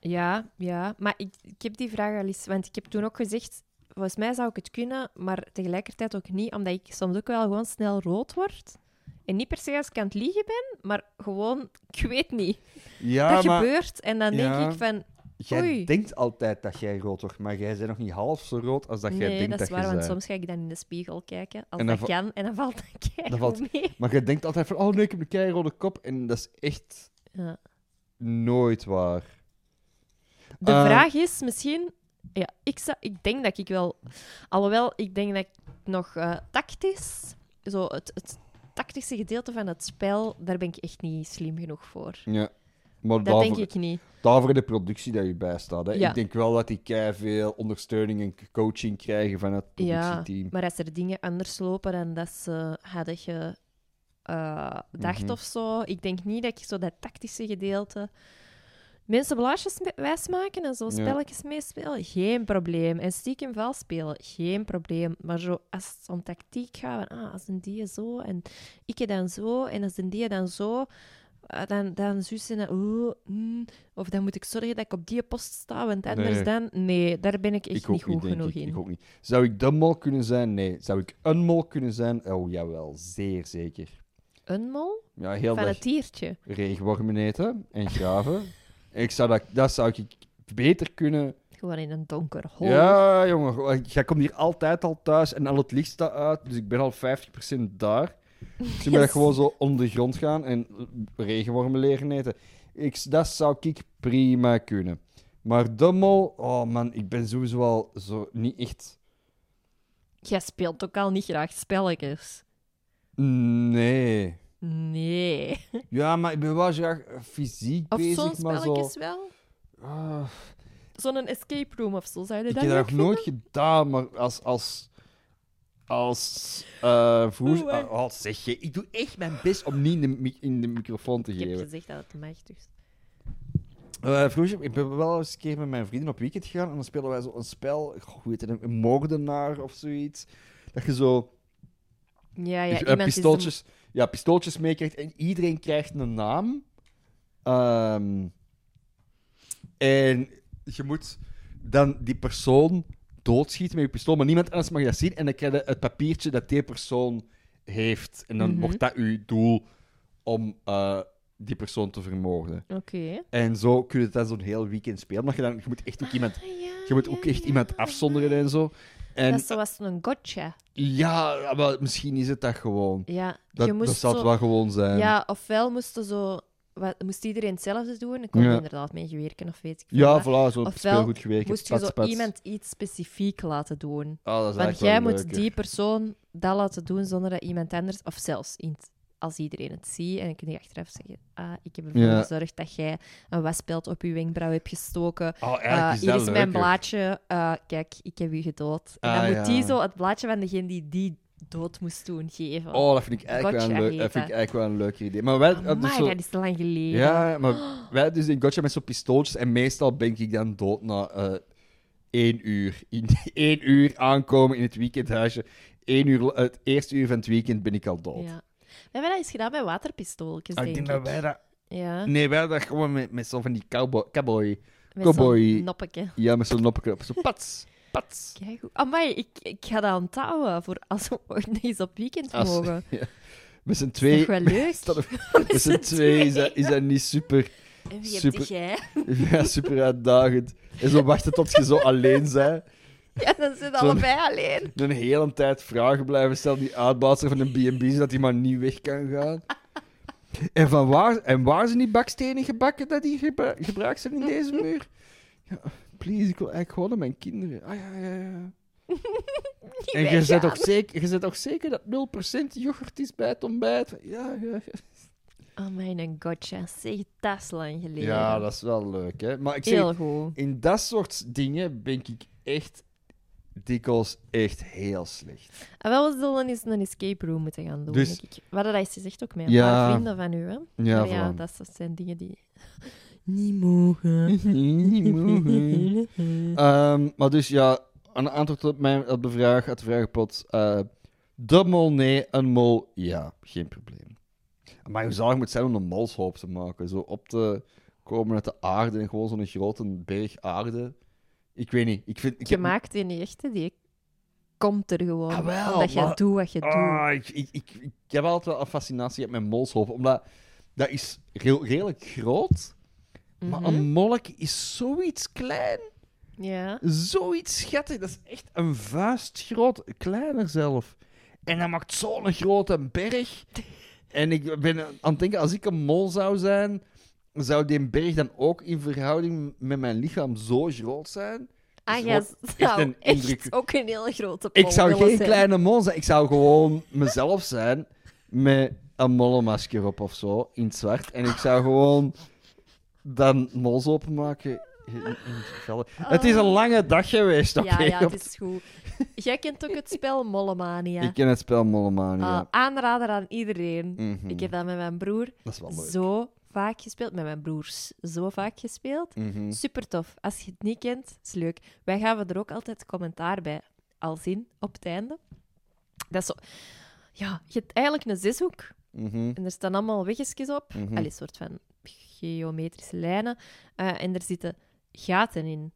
Speaker 1: Ja, ja. Maar ik, ik heb die vraag al eens... Want ik heb toen ook gezegd... Volgens mij zou ik het kunnen, maar tegelijkertijd ook niet. Omdat ik soms ook wel gewoon snel rood word. En niet per se als ik aan het liegen ben, maar gewoon... *laughs* Ik weet niet.
Speaker 2: Ja,
Speaker 1: dat gebeurt en dan denk
Speaker 2: Ja.
Speaker 1: ik van...
Speaker 2: Jij
Speaker 1: Oei.
Speaker 2: denkt altijd dat jij rood wordt, maar jij bent nog niet half zo rood als dat jij
Speaker 1: nee,
Speaker 2: denkt
Speaker 1: dat
Speaker 2: dat,
Speaker 1: is waar,
Speaker 2: je
Speaker 1: want
Speaker 2: bent.
Speaker 1: soms ga ik dan in de spiegel kijken. Als
Speaker 2: En dan
Speaker 1: dat kan, en dan valt dat *laughs*
Speaker 2: Dan
Speaker 1: keihard
Speaker 2: valt-
Speaker 1: mee.
Speaker 2: Maar jij denkt altijd van, oh nee, ik heb een keirode kop. En dat is echt
Speaker 1: Ja.
Speaker 2: nooit waar.
Speaker 1: De
Speaker 2: Eh,
Speaker 1: vraag is misschien... Ja, ik, zou, ik denk dat ik wel... Alhoewel, ik denk dat ik nog eh, tactisch... Zo het, het tactische gedeelte van het spel, daar ben ik echt niet slim genoeg voor.
Speaker 2: Ja. Maar
Speaker 1: Dat
Speaker 2: daarvoor,
Speaker 1: denk ik niet.
Speaker 2: daarvoor de productie dat je bijstaat. Hè.
Speaker 1: Ja.
Speaker 2: Ik denk wel dat die kei veel ondersteuning en coaching krijgen van het
Speaker 1: Ja,
Speaker 2: productieteam.
Speaker 1: maar als er dingen anders lopen dan dat ze hadden gedacht
Speaker 2: Mhm.
Speaker 1: of zo... Ik denk niet dat ik zo dat tactische gedeelte... Mensen blaasjes me- wijsmaken en zo
Speaker 2: Ja.
Speaker 1: spelletjes meespelen, geen probleem. En stiekem val spelen, geen probleem. Maar zo, als het om tactiek gaat, van, ah, als een die zo en ik dan zo en als een die dan zo, eh, dan, dan zus en dan, oeh, mm, of dan moet ik zorgen dat ik op die post sta, want anders
Speaker 2: Nee.
Speaker 1: dan... Nee, daar ben ik echt
Speaker 2: ook
Speaker 1: niet goed
Speaker 2: denk
Speaker 1: genoeg
Speaker 2: ik.
Speaker 1: in.
Speaker 2: Ik ook niet. Zou ik de mol kunnen zijn? Nee. Zou ik een mol kunnen zijn? Oh, jawel. Zeer zeker.
Speaker 1: Een mol?
Speaker 2: Ja, heel
Speaker 1: van
Speaker 2: erg.
Speaker 1: het diertje.
Speaker 2: regenwormen eten en graven. ik zou dat, dat zou ik beter kunnen.
Speaker 1: Gewoon in een donker hol.
Speaker 2: Ja, jongen, jij komt hier altijd al thuis en al het licht staat uit, dus ik ben al 50% daar. Dus ik ben dat
Speaker 1: *laughs* Yes.
Speaker 2: gewoon zo onder de grond gaan en regenwormen leren eten. Ik, dat zou ik prima kunnen. Maar de mol, oh man, ik ben sowieso al zo niet echt.
Speaker 1: Jij speelt ook al niet graag spelletjes.
Speaker 2: Nee.
Speaker 1: Nee.
Speaker 2: Ja, maar ik ben wel graag eh, fysiek
Speaker 1: Of
Speaker 2: bezig,
Speaker 1: zo'n
Speaker 2: maar zo...
Speaker 1: spelletjes wel?
Speaker 2: Ah,
Speaker 1: Zo'n escape room of zo, zou je
Speaker 2: ik
Speaker 1: dat
Speaker 2: heb dat
Speaker 1: leuk
Speaker 2: nog nooit gedaan, maar als... als als eh vroeger...
Speaker 1: Oh, maar-
Speaker 2: oh, zeg je. Ik doe echt mijn best om niet in de, mi- in de microfoon te
Speaker 1: vinden? Ik heb
Speaker 2: geven.
Speaker 1: gezegd dat het mag, dus...
Speaker 2: Eh, vroeger, ik ben wel eens een keer met mijn vrienden op weekend gegaan en dan spelen wij zo een spel, goh, hoe heet het, een moordenaar of zoiets. Dat je zo
Speaker 1: Ja, ja,
Speaker 2: Dus, eh,
Speaker 1: iemand is de-
Speaker 2: pistooltjes, ja, pistooltjes meekrijgt en iedereen krijgt een naam. Ehm, en je moet dan die persoon doodschieten met je pistool, maar niemand anders mag dat zien. En dan krijg je het papiertje dat die persoon heeft. En dan
Speaker 1: Mhm.
Speaker 2: wordt dat je doel om eh, die persoon te vermoorden.
Speaker 1: Oké.
Speaker 2: En zo kun je dat zo'n heel weekend spelen. Maar je, dan, je moet echt ook iemand,
Speaker 4: Ah, ja,
Speaker 2: je moet
Speaker 4: ja,
Speaker 2: ook echt
Speaker 4: ja.
Speaker 2: iemand afzonderen en zo.
Speaker 1: Dat
Speaker 2: En
Speaker 1: is zoals een gotcha.
Speaker 2: ja, maar misschien is het dat gewoon.
Speaker 1: Ja,
Speaker 2: Dat,
Speaker 1: je moest
Speaker 2: dat zou het
Speaker 1: zo...
Speaker 2: wel gewoon zijn.
Speaker 1: Ja, ofwel moesten zo... Wat, moest iedereen hetzelfde doen? Ik kon
Speaker 2: Ja.
Speaker 1: inderdaad mee gewerken of weet ik veel wat.
Speaker 2: Ja, voilà, zo
Speaker 1: Ofwel
Speaker 2: speelgoed gewerkt.
Speaker 1: Moest je
Speaker 2: pats,
Speaker 1: zo
Speaker 2: pats.
Speaker 1: iemand iets specifiek laten doen?
Speaker 2: Oh, dat
Speaker 1: Want
Speaker 2: is eigenlijk wel
Speaker 1: jij moet
Speaker 2: leuker.
Speaker 1: die persoon dat laten doen zonder dat iemand anders, of zelfs in het- als iedereen het ziet, en dan kun je achteraf zeggen: Ah, ik heb ervoor
Speaker 2: Ja.
Speaker 1: gezorgd dat jij een waspeld op je wenkbrauw hebt gestoken.
Speaker 2: Oh,
Speaker 1: Eh,
Speaker 2: eigenlijk is
Speaker 1: hier
Speaker 2: dat
Speaker 1: is mijn
Speaker 2: leuker.
Speaker 1: blaadje. Eh, kijk, ik heb u gedood. En
Speaker 2: Ah,
Speaker 1: dan moet
Speaker 2: ja.
Speaker 1: die zo het blaadje van degene die die dood moest doen geven.
Speaker 2: Oh, dat vind ik eigenlijk,
Speaker 1: Gotcha
Speaker 2: wel, een
Speaker 1: heet
Speaker 2: leuk, dat vind ik
Speaker 1: dat.
Speaker 2: eigenlijk wel een leuker idee. Maar wij,
Speaker 1: Amai,
Speaker 2: dus zo,
Speaker 1: dat is te lang geleden.
Speaker 2: ja,
Speaker 1: *gasps*
Speaker 2: maar wij dus in Gotcha met zo'n pistooltjes en meestal ben ik dan dood na eh één uur. In *laughs* één uur aankomen in het weekendhuisje. Eén uur, la- het eerste uur van het weekend ben ik al dood.
Speaker 1: Ja. We hebben dat eens gedaan bij waterpistooltjes,
Speaker 2: Ah,
Speaker 1: denk
Speaker 2: ik
Speaker 1: ik.
Speaker 2: denk dat wij dat...
Speaker 1: Ja,
Speaker 2: Nee, wij dat gewoon met, met zo van die cowboy... cowboy.
Speaker 1: met zo'n
Speaker 2: cowboy.
Speaker 1: noppetje.
Speaker 2: Ja, met zo'n noppeknop. Zo pats, pats.
Speaker 1: Keigoed. Amai, ik, ik ga dat onthouden voor als we ooit nog eens op weekend
Speaker 2: Als-
Speaker 1: mogen.
Speaker 2: *laughs* Met z'n
Speaker 1: Is
Speaker 2: twee... *laughs*
Speaker 1: toch wel leuk?
Speaker 2: dat Met z'n twee is dat, is dat niet super, *laughs*
Speaker 1: En wie
Speaker 2: super-
Speaker 1: heb jij?
Speaker 2: ja, super uitdagend. En zo wachten tot je zo alleen bent.
Speaker 1: *laughs* Ja, dan zitten
Speaker 2: Zo'n-
Speaker 1: allebei alleen.
Speaker 2: Een hele tijd vragen blijven stellen. Die uitbaatser van een B&B, zodat hij maar niet weg kan gaan. En, van waar, en waar zijn die bakstenen gebakken dat die gebra- gebruikt zijn in deze muur? Ja, please, ik wil eigenlijk gewoon aan mijn kinderen. Ah ja, ja,
Speaker 1: *laughs*
Speaker 2: ja. En je zet, toch zeker, je zet toch zeker dat 0% yoghurt is bij het ontbijt? Ja, ja, ja.
Speaker 1: Oh mijn gotcha, zeg, dat is lang geleden.
Speaker 2: Ja, dat is wel leuk, hè. Maar ik zeg,
Speaker 1: Heel goed.
Speaker 2: In dat soort dingen ben ik echt dikwijls echt heel slecht.
Speaker 1: En wel, we zullen eens een escape room moeten gaan doen,
Speaker 2: Dus-
Speaker 1: denk ik. We hadden dat eens gezegd ook met een
Speaker 2: Ja.
Speaker 1: paar vrienden van u, hè. Maar ja
Speaker 2: *laughs*
Speaker 1: dat is- dat zijn dingen die niet mogen.
Speaker 2: maar dus ja, een antwoord op, mijn, op de vraag, uit de vragenpot. eh, de mol nee, een mol ja, geen probleem. Maar hoe zalig moet het zijn om een molshoop te maken? Zo op te komen uit de aarde en gewoon zo'n grote berg aarde. Ik weet niet. Ik vind, ik
Speaker 1: Je
Speaker 2: heb-
Speaker 1: maakt in die echte, die komt er gewoon.
Speaker 2: Ah, wel,
Speaker 1: omdat je
Speaker 2: maar-
Speaker 1: doet wat je doet.
Speaker 2: Ah, ik, ik, ik, ik heb altijd wel een fascinatie met mijn molshoop, omdat dat is re- redelijk groot, maar
Speaker 1: Mhm.
Speaker 2: een molk is zoiets klein,
Speaker 1: Ja.
Speaker 2: zoiets schattig. Dat is echt een vuist groot, kleiner zelf. En dat maakt zo'n grote berg. En ik ben aan het denken, als ik een mol zou zijn, zou die berg dan ook in verhouding met mijn lichaam zo groot zijn?
Speaker 1: Ah,
Speaker 2: Dus
Speaker 1: jij
Speaker 2: wordt
Speaker 1: zou
Speaker 2: een
Speaker 1: echt
Speaker 2: indruk-
Speaker 1: ook een hele grote pol
Speaker 2: Ik zou
Speaker 1: willen
Speaker 2: geen
Speaker 1: zijn.
Speaker 2: kleine mol zijn. Ik zou gewoon mezelf zijn met een mollenmasker op of zo, in het zwart. En ik zou gewoon dan mols openmaken. in- in het veld. Het is een lange dag geweest, oké?
Speaker 1: Oh. Ja, ja,
Speaker 2: op-
Speaker 1: het is goed. Jij kent ook het spel Mollemania.
Speaker 2: Ik ken het spel Mollemania.
Speaker 1: Ah, aanrader aan iedereen.
Speaker 2: Mhm.
Speaker 1: Ik heb dat met mijn broer
Speaker 2: Dat is wel leuk.
Speaker 1: zo vaak gespeeld. Met mijn broers zo vaak gespeeld.
Speaker 2: Mhm.
Speaker 1: Super tof. Als je het niet kent, is leuk. Wij gaven er ook altijd commentaar bij. Al zien op het einde. Dat is zo... Ja, je hebt eigenlijk een zeshoek.
Speaker 2: Mhm.
Speaker 1: En er staan allemaal weggetjes op.
Speaker 2: Mhm.
Speaker 1: Allee, soort van geometrische lijnen. Eh, en er zitten gaten in.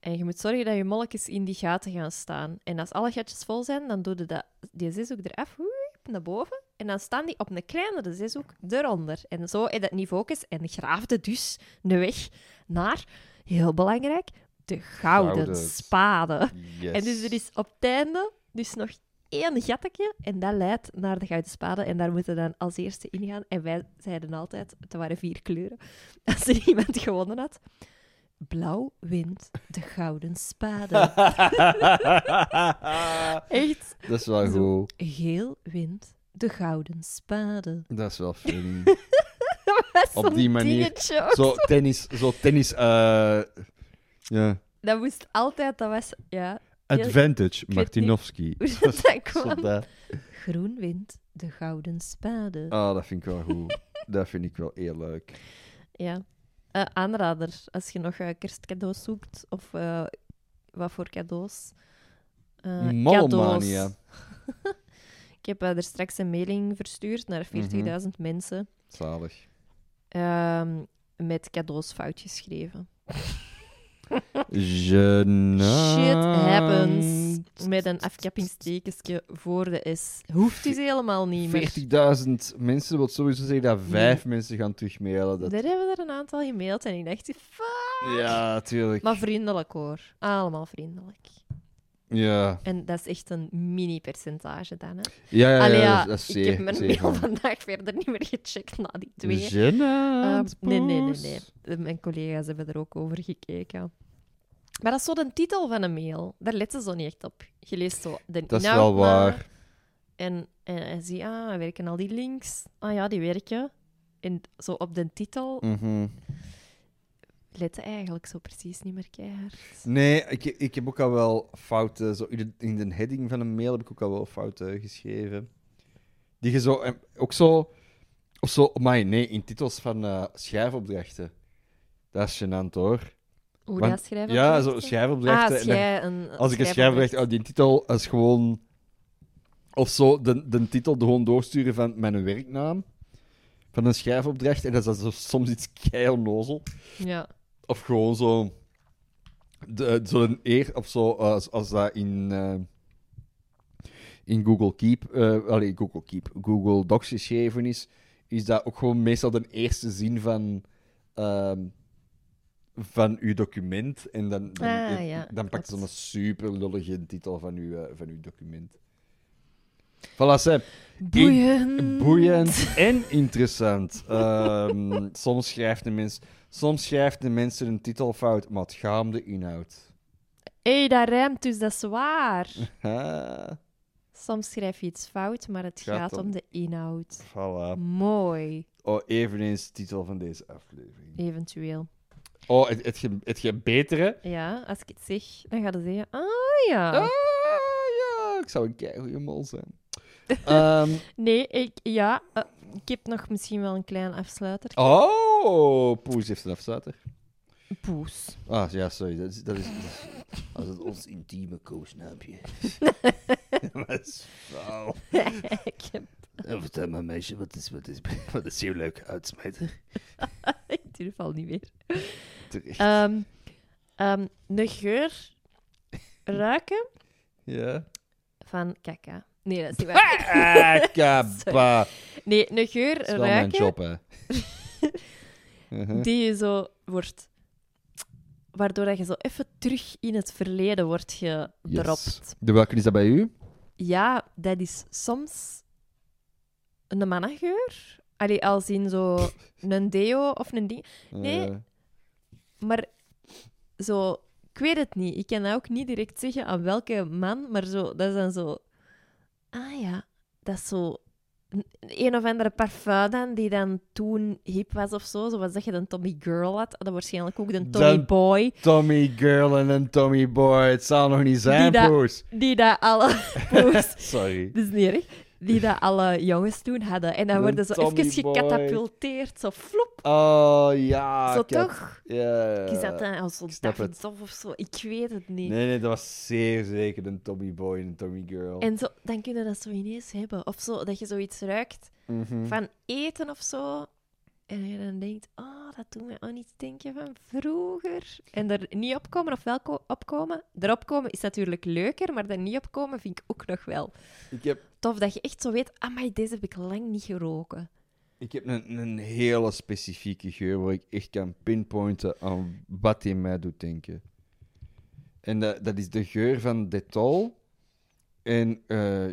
Speaker 1: En je moet zorgen dat je molletjes in die gaten gaan staan. En als alle gatjes vol zijn, dan doe je dat, die zeshoek eraf, woep, naar boven. En dan staan die op een kleinere zeshoek eronder. En zo in dat niveaukes. En graafde dus de weg naar, heel belangrijk, de gouden,
Speaker 2: Gouden.
Speaker 1: spade.
Speaker 2: Yes.
Speaker 1: En dus er is op het einde dus nog één gattetje en dat leidt naar de gouden spade. En daar moeten we dan als eerste ingaan. En wij zeiden altijd, het waren vier kleuren, *laughs* als er iemand gewonnen had. Blauw wint de gouden
Speaker 2: *laughs*
Speaker 1: spade. Echt,
Speaker 2: *laughs* dat is wel
Speaker 1: Zo.
Speaker 2: goed.
Speaker 1: geel wint De gouden
Speaker 2: *laughs*
Speaker 1: spade.
Speaker 2: Dat is wel
Speaker 1: *laughs*
Speaker 2: funny. Op
Speaker 1: Zo'n
Speaker 2: die manier.
Speaker 1: dingetje ook.
Speaker 2: zo tennis, zo tennis, eh, ja.
Speaker 1: Dat moest altijd, dat was, ja,
Speaker 2: Advantage,
Speaker 1: niet.
Speaker 2: Martinovski.
Speaker 1: hoe dat, dat
Speaker 2: *laughs* Zo
Speaker 1: kwam.
Speaker 2: dat.
Speaker 1: Groen wint de gouden spade.
Speaker 2: Ah, dat vind ik wel goed. Dat vind ik wel heel leuk.
Speaker 1: Ja. Eh, aanrader, als je nog eh, kerstcadeaus zoekt of eh, wat voor cadeaus. Eh,
Speaker 2: Mallomania.
Speaker 1: cadeaus. Ik heb eh, er straks een mailing verstuurd
Speaker 2: Mhm.
Speaker 1: naar 40.000 mensen
Speaker 2: Zalig.
Speaker 1: ehm, met cadeaus fout
Speaker 2: *laughs*
Speaker 1: geschreven.
Speaker 2: Genant.
Speaker 1: Shit happens. Met een afkappingstekentje voor de S. Hoeft dus helemaal niet meer.
Speaker 2: 40.000 mensen, wil sowieso zeggen dat vijf mensen gaan terugmailen. Dat...
Speaker 1: Daar hebben we er een aantal gemaild en ik dacht, fuck.
Speaker 2: Ja, tuurlijk.
Speaker 1: Maar vriendelijk hoor. Allemaal vriendelijk.
Speaker 2: Ja,
Speaker 1: En dat is echt een mini-percentage dan, hè.
Speaker 2: ja, ja, ja,
Speaker 1: Allee,
Speaker 2: dat, dat is
Speaker 1: ik heb
Speaker 2: zeer, Dus-
Speaker 1: mijn
Speaker 2: zeer
Speaker 1: mail
Speaker 2: gewoon.
Speaker 1: vandaag verder niet meer gecheckt na die twee. Ehm,
Speaker 2: Genant,
Speaker 1: nee, nee, nee,
Speaker 2: poes.
Speaker 1: nee. Eh, Mijn collega's hebben er ook over gekeken. Maar dat is zo de titel van een mail. Daar letten ze zo niet echt op. Je leest zo de
Speaker 2: Dat is
Speaker 1: inhoud
Speaker 2: wel
Speaker 1: na
Speaker 2: waar.
Speaker 1: En, en, en zie, ah, werken al die links? Ah ja, die werken. En zo op de titel
Speaker 2: Mhm.
Speaker 1: letten eigenlijk zo precies niet meer keihard.
Speaker 2: Nee, ik, ik heb ook al wel fouten. Zo in, de, in de heading van een mail heb ik ook al wel fouten geschreven. Die je zo. en Ook zo. Of zo. Maar nee, in titels van eh, schrijfopdrachten. Dat is gênant hoor.
Speaker 1: Hoe
Speaker 2: Want-
Speaker 1: dat schrijven?
Speaker 2: Ja,
Speaker 1: we
Speaker 2: zo
Speaker 1: echt?
Speaker 2: schrijfopdrachten.
Speaker 1: Ah, als
Speaker 2: en dan-
Speaker 1: jij een
Speaker 2: als ik een schrijfopdracht.
Speaker 1: schrijfopdracht-
Speaker 2: Oh, die titel is gewoon. Of zo, de, de titel gewoon doorsturen van mijn werknaam. Van een schrijfopdracht. En dat is dan zo, soms iets kei onnozel.
Speaker 1: Ja.
Speaker 2: Of gewoon zo. de- Zo'n eer of zo, als, als dat in, eh, in Google Keep, eh allee, Google Keep, Google Docs geschreven is, is dat ook gewoon meestal de eerste zin van, ehm, van uw document. En dan, dan,
Speaker 1: Ah, ja,
Speaker 2: dan pakt ze
Speaker 1: klopt.
Speaker 2: een super lullige titel van uw, eh, van uw document. Voilà, Sam.
Speaker 1: Boeiend.
Speaker 2: Boeiend en interessant. Ehm, soms, schrijft de mens, soms schrijft de mensen een titel fout, maar het gaat om de inhoud.
Speaker 1: Hé, hey, dat rijmt dus, dat is waar. *laughs*
Speaker 2: Ha,
Speaker 1: Soms schrijf je iets fout, maar het gaat,
Speaker 2: Gaat om-
Speaker 1: om de inhoud.
Speaker 2: voilà.
Speaker 1: Mooi,
Speaker 2: Oh, eveneens de titel van deze aflevering.
Speaker 1: eventueel.
Speaker 2: Oh, het, het, ge- het ge betere.
Speaker 1: Ja, als ik het zeg, dan gaat het zeggen... Ah ja.
Speaker 2: Ah, ja, ik zou een keigoede mol zijn. Ehm, *laughs*
Speaker 1: Nee, ik... Ja, eh, ik heb nog misschien wel een klein afsluiter.
Speaker 2: oh, Poes heeft een afsluiter. *laughs*
Speaker 1: Poes.
Speaker 2: Ah, ja, sorry. Dat is, dat is, dat is, dat is ons intieme koosnaampje.
Speaker 1: *laughs*
Speaker 2: dat is fout.
Speaker 1: ik heb...
Speaker 2: En vertel maar, meisje, wat is, wat is, wat is heel leuk uitsmijter?
Speaker 1: Ik durf al niet meer.
Speaker 2: Terecht.
Speaker 1: Ehm ehm, de geur ruiken
Speaker 2: ja.
Speaker 1: van kaka. Nee, dat is niet waar.
Speaker 2: Ah, kappa.
Speaker 1: Nee, een geur
Speaker 2: Dat is wel mijn
Speaker 1: ruiken
Speaker 2: job, hè. Mhm.
Speaker 1: die je zo wordt... Waardoor dat je zo even terug in het verleden wordt gedropt.
Speaker 2: De welke is dat bij u?
Speaker 1: Ja, dat is soms een mannengeur. Allee, als in zo een deo of een ding. Nee.
Speaker 2: Eh,
Speaker 1: Maar zo, ik weet het niet. Ik kan dat ook niet direct zeggen aan welke man, maar zo, dat is dan zo... Ah ja, dat is zo... Een een of andere parfum dan, die dan toen hip was of zo. Zoals dat je dan Tommy Girl had. Dat waarschijnlijk ook de Tommy
Speaker 2: Dan-
Speaker 1: Boy.
Speaker 2: Tommy Girl en een Tommy Boy. Het zal nog niet zijn,
Speaker 1: Die dat-
Speaker 2: Poes.
Speaker 1: Die dat alle... *laughs* poes-
Speaker 2: *laughs* Sorry.
Speaker 1: Dat is niet erg. Die dat alle jongens toen hadden. En dan
Speaker 2: Een
Speaker 1: worden ze
Speaker 2: Tommy
Speaker 1: even
Speaker 2: boy.
Speaker 1: gecatapulteerd. Zo floep.
Speaker 2: Oh, ja.
Speaker 1: zo
Speaker 2: ik heb-
Speaker 1: toch?
Speaker 2: Ja.
Speaker 1: Is dat dan als zo'n
Speaker 2: ik snap
Speaker 1: Davidoff of zo? Ik weet het niet.
Speaker 2: Nee, nee, dat was zeer zeker een Tommy Boy en een Tommy Girl.
Speaker 1: En zo, dan kunnen dat zo ineens hebben. Of zo, dat je zoiets ruikt
Speaker 2: Mhm.
Speaker 1: van eten of zo. En je dan denkt, oh, dat doet me aan iets denken van vroeger. En er niet opkomen of wel ko- opkomen. Erop komen is natuurlijk leuker, maar er niet opkomen vind ik ook nog wel.
Speaker 2: Ik heb
Speaker 1: Tof dat je echt zo weet, amai, deze heb ik lang niet geroken.
Speaker 2: Ik heb een, een hele specifieke geur waar ik echt kan pinpointen aan wat die mij doet denken. En dat, dat is de geur van Detol. En eh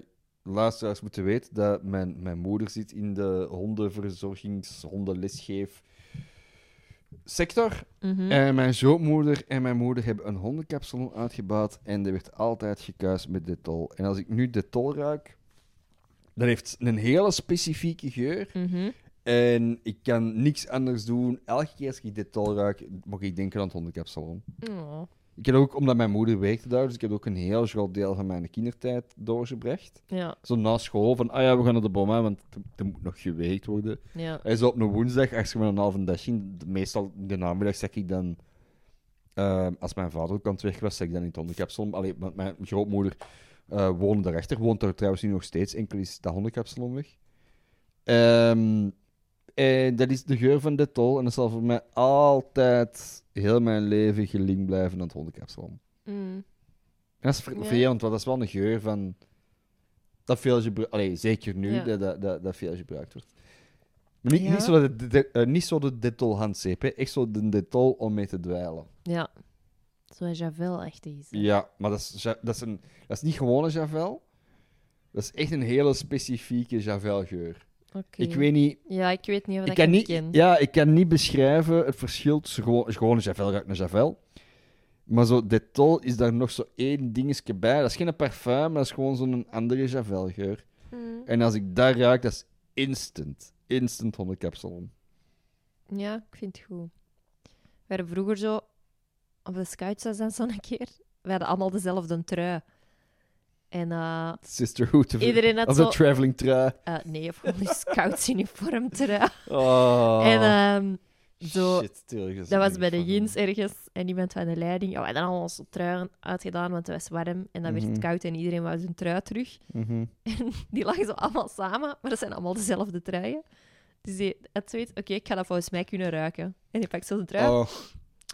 Speaker 2: luisteraars moeten weten dat mijn, mijn moeder zit in de hondenverzorgings, hondenlesgeef sector. En mijn zoonmoeder en mijn moeder hebben een hondenkapsalon uitgebouwd en er werd altijd gekuist met Detol. En als ik nu Detol ruik, Dat heeft een hele specifieke geur.
Speaker 1: Mhm.
Speaker 2: En ik kan niks anders doen. Elke keer als ik dit al ruik, mag ik denken aan het hondenkapsalon.
Speaker 1: Oh.
Speaker 2: Ik heb ook, omdat mijn moeder werkte daar, dus ik heb ook een heel groot deel van mijn kindertijd doorgebracht.
Speaker 1: Ja,
Speaker 2: Zo na school, van, ah ja, we gaan naar de bom, hè, want er- er moet nog geweekt worden.
Speaker 1: ja.
Speaker 2: Hij is op een woensdag, als je maar een halve dag in, meestal in de namiddag zeg ik dan, ehm, als mijn vader ook aan het werk was, zeg ik dan in het hondenkapsalon. Allee, want mijn grootmoeder eh, woonde daarachter, woont daar trouwens nu nog steeds, enkel is dat hondenkapsalon weg. Ehm, en dat is de geur van Dettol en dat zal voor mij altijd heel mijn leven gelinkt blijven aan het hondenkapsalon.
Speaker 1: Mm.
Speaker 2: En dat is
Speaker 1: Ja.
Speaker 2: ver- vervelend, want dat is wel een geur van... Dat veel gebruikt... Allee, zeker nu,
Speaker 1: Ja.
Speaker 2: dat, dat, dat, dat veel gebruikt wordt. Maar niet,
Speaker 1: Ja.
Speaker 2: niet, zo, de, de, de- eh, niet zo de Dettol handzeep, hè. Echt zo de Dettol om mee te dweilen.
Speaker 1: Ja. Zoals Javel-achtig is. hè.
Speaker 2: Ja, maar dat is, ja- dat is, een, dat is niet gewone Javel. Dat is echt een hele specifieke Javel-geur.
Speaker 1: Oké.
Speaker 2: Ik weet niet...
Speaker 1: Ja, ik weet niet of
Speaker 2: Ik
Speaker 1: dat
Speaker 2: kan niet,
Speaker 1: ken.
Speaker 2: ja, ik kan niet beschrijven het verschil tussen gewoon, gewone Javel ruikt naar Javel. Maar zo Dettol is daar nog zo één dingetje bij. Dat is geen parfum, maar dat is gewoon zo'n andere Javelgeur.
Speaker 1: Mm.
Speaker 2: En als ik daar ruik, dat is instant. Instant hondenkapsalon.
Speaker 1: Ja, ik vind het goed. We hadden vroeger zo op de scouts was dat zo'n keer. We hadden allemaal dezelfde trui. En eh,
Speaker 2: Sisterhood of,
Speaker 1: iedereen had
Speaker 2: of
Speaker 1: zo...
Speaker 2: de
Speaker 1: *laughs*
Speaker 2: traveling trui.
Speaker 1: eh, nee, of gewoon
Speaker 2: *laughs*
Speaker 1: een scoutsuniform trui.
Speaker 2: Oh,
Speaker 1: En ehm, zo...
Speaker 2: shit, tuurlijk, is
Speaker 1: Dat was
Speaker 2: niet
Speaker 1: bij de
Speaker 2: van-
Speaker 1: jeans ergens en iemand van de leiding. Ja, we hadden allemaal onze truien uitgedaan, want het was warm. En dan werd het
Speaker 2: Mhm.
Speaker 1: koud en iedereen wou zijn trui terug.
Speaker 2: Mhm.
Speaker 1: Die lagen zo allemaal samen, maar dat zijn allemaal dezelfde truien. Dus die had zoiets, oké, ik ga dat volgens mij kunnen ruiken. En die pakt zo'n trui.
Speaker 2: Oh,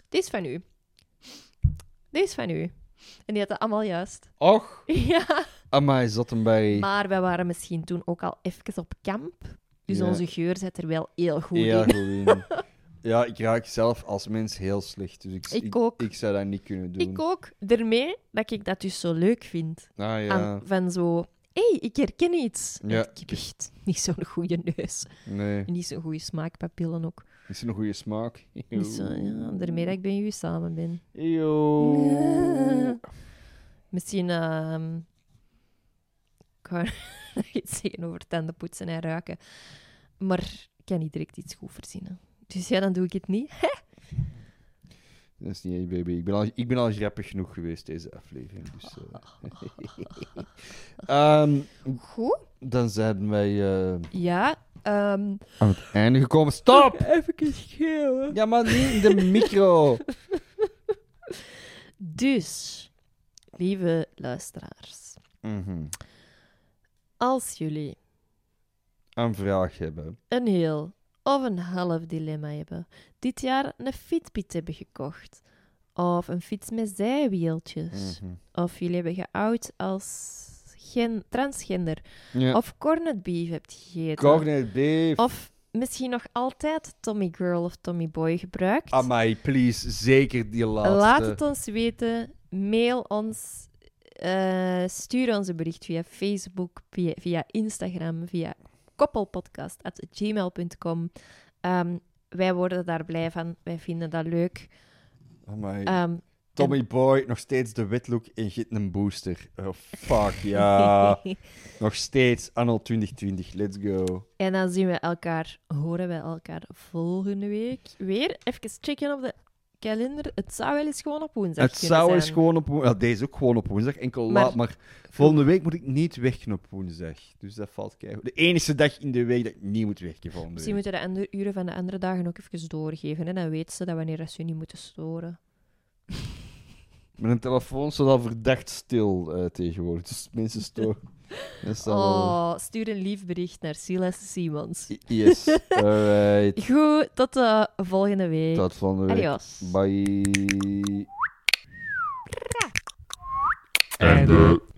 Speaker 1: Dit is van u. Dit is van u. En die had dat allemaal juist.
Speaker 2: och,
Speaker 1: *laughs* Ja.
Speaker 2: amai, zat hem bij...
Speaker 1: Maar wij waren misschien toen ook al even op kamp. Dus
Speaker 2: Ja.
Speaker 1: onze geur zit er wel heel goed
Speaker 2: Heel
Speaker 1: in.
Speaker 2: goed
Speaker 1: *laughs*
Speaker 2: in. Ja, ik raak zelf als mens heel slecht. Dus *laughs* ik,
Speaker 1: Ik ook.
Speaker 2: Ik, zou dat niet kunnen doen.
Speaker 1: Ik ook. Daarmee dat ik dat dus zo leuk vind.
Speaker 2: Ah ja,
Speaker 1: Aan- van zo... Hé, hey, ik herken iets.
Speaker 2: Ja.
Speaker 1: Want Ik heb echt niet zo'n goede neus.
Speaker 2: nee.
Speaker 1: En niet zo'n goede smaakpapillen ook.
Speaker 2: Is er een goede
Speaker 1: *laughs*
Speaker 2: smaak?
Speaker 1: Niet Dus zo, ja, daarmee dat ik bij jullie samen ben. *laughs*
Speaker 2: Eeuw.
Speaker 1: Misschien... ehm ik wou *laughs* nog iets zeggen over tandenpoetsen en ruiken. Maar ik kan niet direct iets goed verzinnen. Dus ja, dan doe ik het niet.
Speaker 2: Dat is niet echt, baby. Ik ben, al, ik ben al grappig genoeg geweest deze aflevering.
Speaker 1: *laughs*
Speaker 2: Dus, eh. Ehm,
Speaker 1: Goed?
Speaker 2: dan zijn wij eh,
Speaker 1: Ja. ehm
Speaker 2: aan het einde gekomen. Stop!
Speaker 1: Even schreeuwen.
Speaker 2: Ja, maar niet in de
Speaker 1: *laughs*
Speaker 2: micro.
Speaker 1: Dus, lieve luisteraars.
Speaker 2: Mhm.
Speaker 1: Als jullie
Speaker 2: Een vraag hebben.
Speaker 1: een heel of een half dilemma hebben. Dit jaar een Fitbit hebben gekocht. Of een fiets met zijwieltjes.
Speaker 2: Mhm.
Speaker 1: Of jullie hebben geout als gen- transgender.
Speaker 2: Ja.
Speaker 1: Of corned beef hebt gegeten.
Speaker 2: Cornet beef.
Speaker 1: Of misschien nog altijd Tommy Girl of Tommy Boy gebruikt.
Speaker 2: Amai, please. Zeker die Ah, laatste.
Speaker 1: Laat het ons weten. Mail ons. eh, stuur ons een bericht via Facebook, via, via Instagram, via koppelpodcast.gmail.com. Ehm, wij worden daar blij van. Wij vinden dat leuk.
Speaker 2: Amai.
Speaker 1: Ehm,
Speaker 2: Tommy Boy, nog steeds de witlook en git een booster. Oh, fuck, *laughs* ja.
Speaker 1: *laughs*
Speaker 2: nog steeds anno 2020, let's go.
Speaker 1: en dan zien we elkaar, horen wij elkaar volgende week. Weer even checken op de kalender. Het zou wel eens gewoon op woensdag
Speaker 2: Het
Speaker 1: kunnen
Speaker 2: zou
Speaker 1: zijn.
Speaker 2: eens gewoon op woensdag... deze ook gewoon op woensdag, enkel
Speaker 1: Maar-
Speaker 2: laat. Maar volgende week moet ik niet werken op woensdag. Dus dat valt keihard. De enige dag in de week dat ik niet moet werken volgende
Speaker 1: Misschien
Speaker 2: week.
Speaker 1: moeten we de andere uren van de andere dagen ook even doorgeven. En dan weten ze dat wanneer dat ze je niet moeten storen.
Speaker 2: Mijn telefoon staat al verdacht stil eh, tegenwoordig. Dus mensen storen.
Speaker 1: *laughs*
Speaker 2: Dat zal wel-
Speaker 1: Oh, stuur een lief bericht naar Silas Simons.
Speaker 2: I- Yes,
Speaker 1: *laughs*
Speaker 2: alright.
Speaker 1: Goed, tot de volgende week.
Speaker 2: Tot volgende week.
Speaker 1: Adios.
Speaker 2: Bye.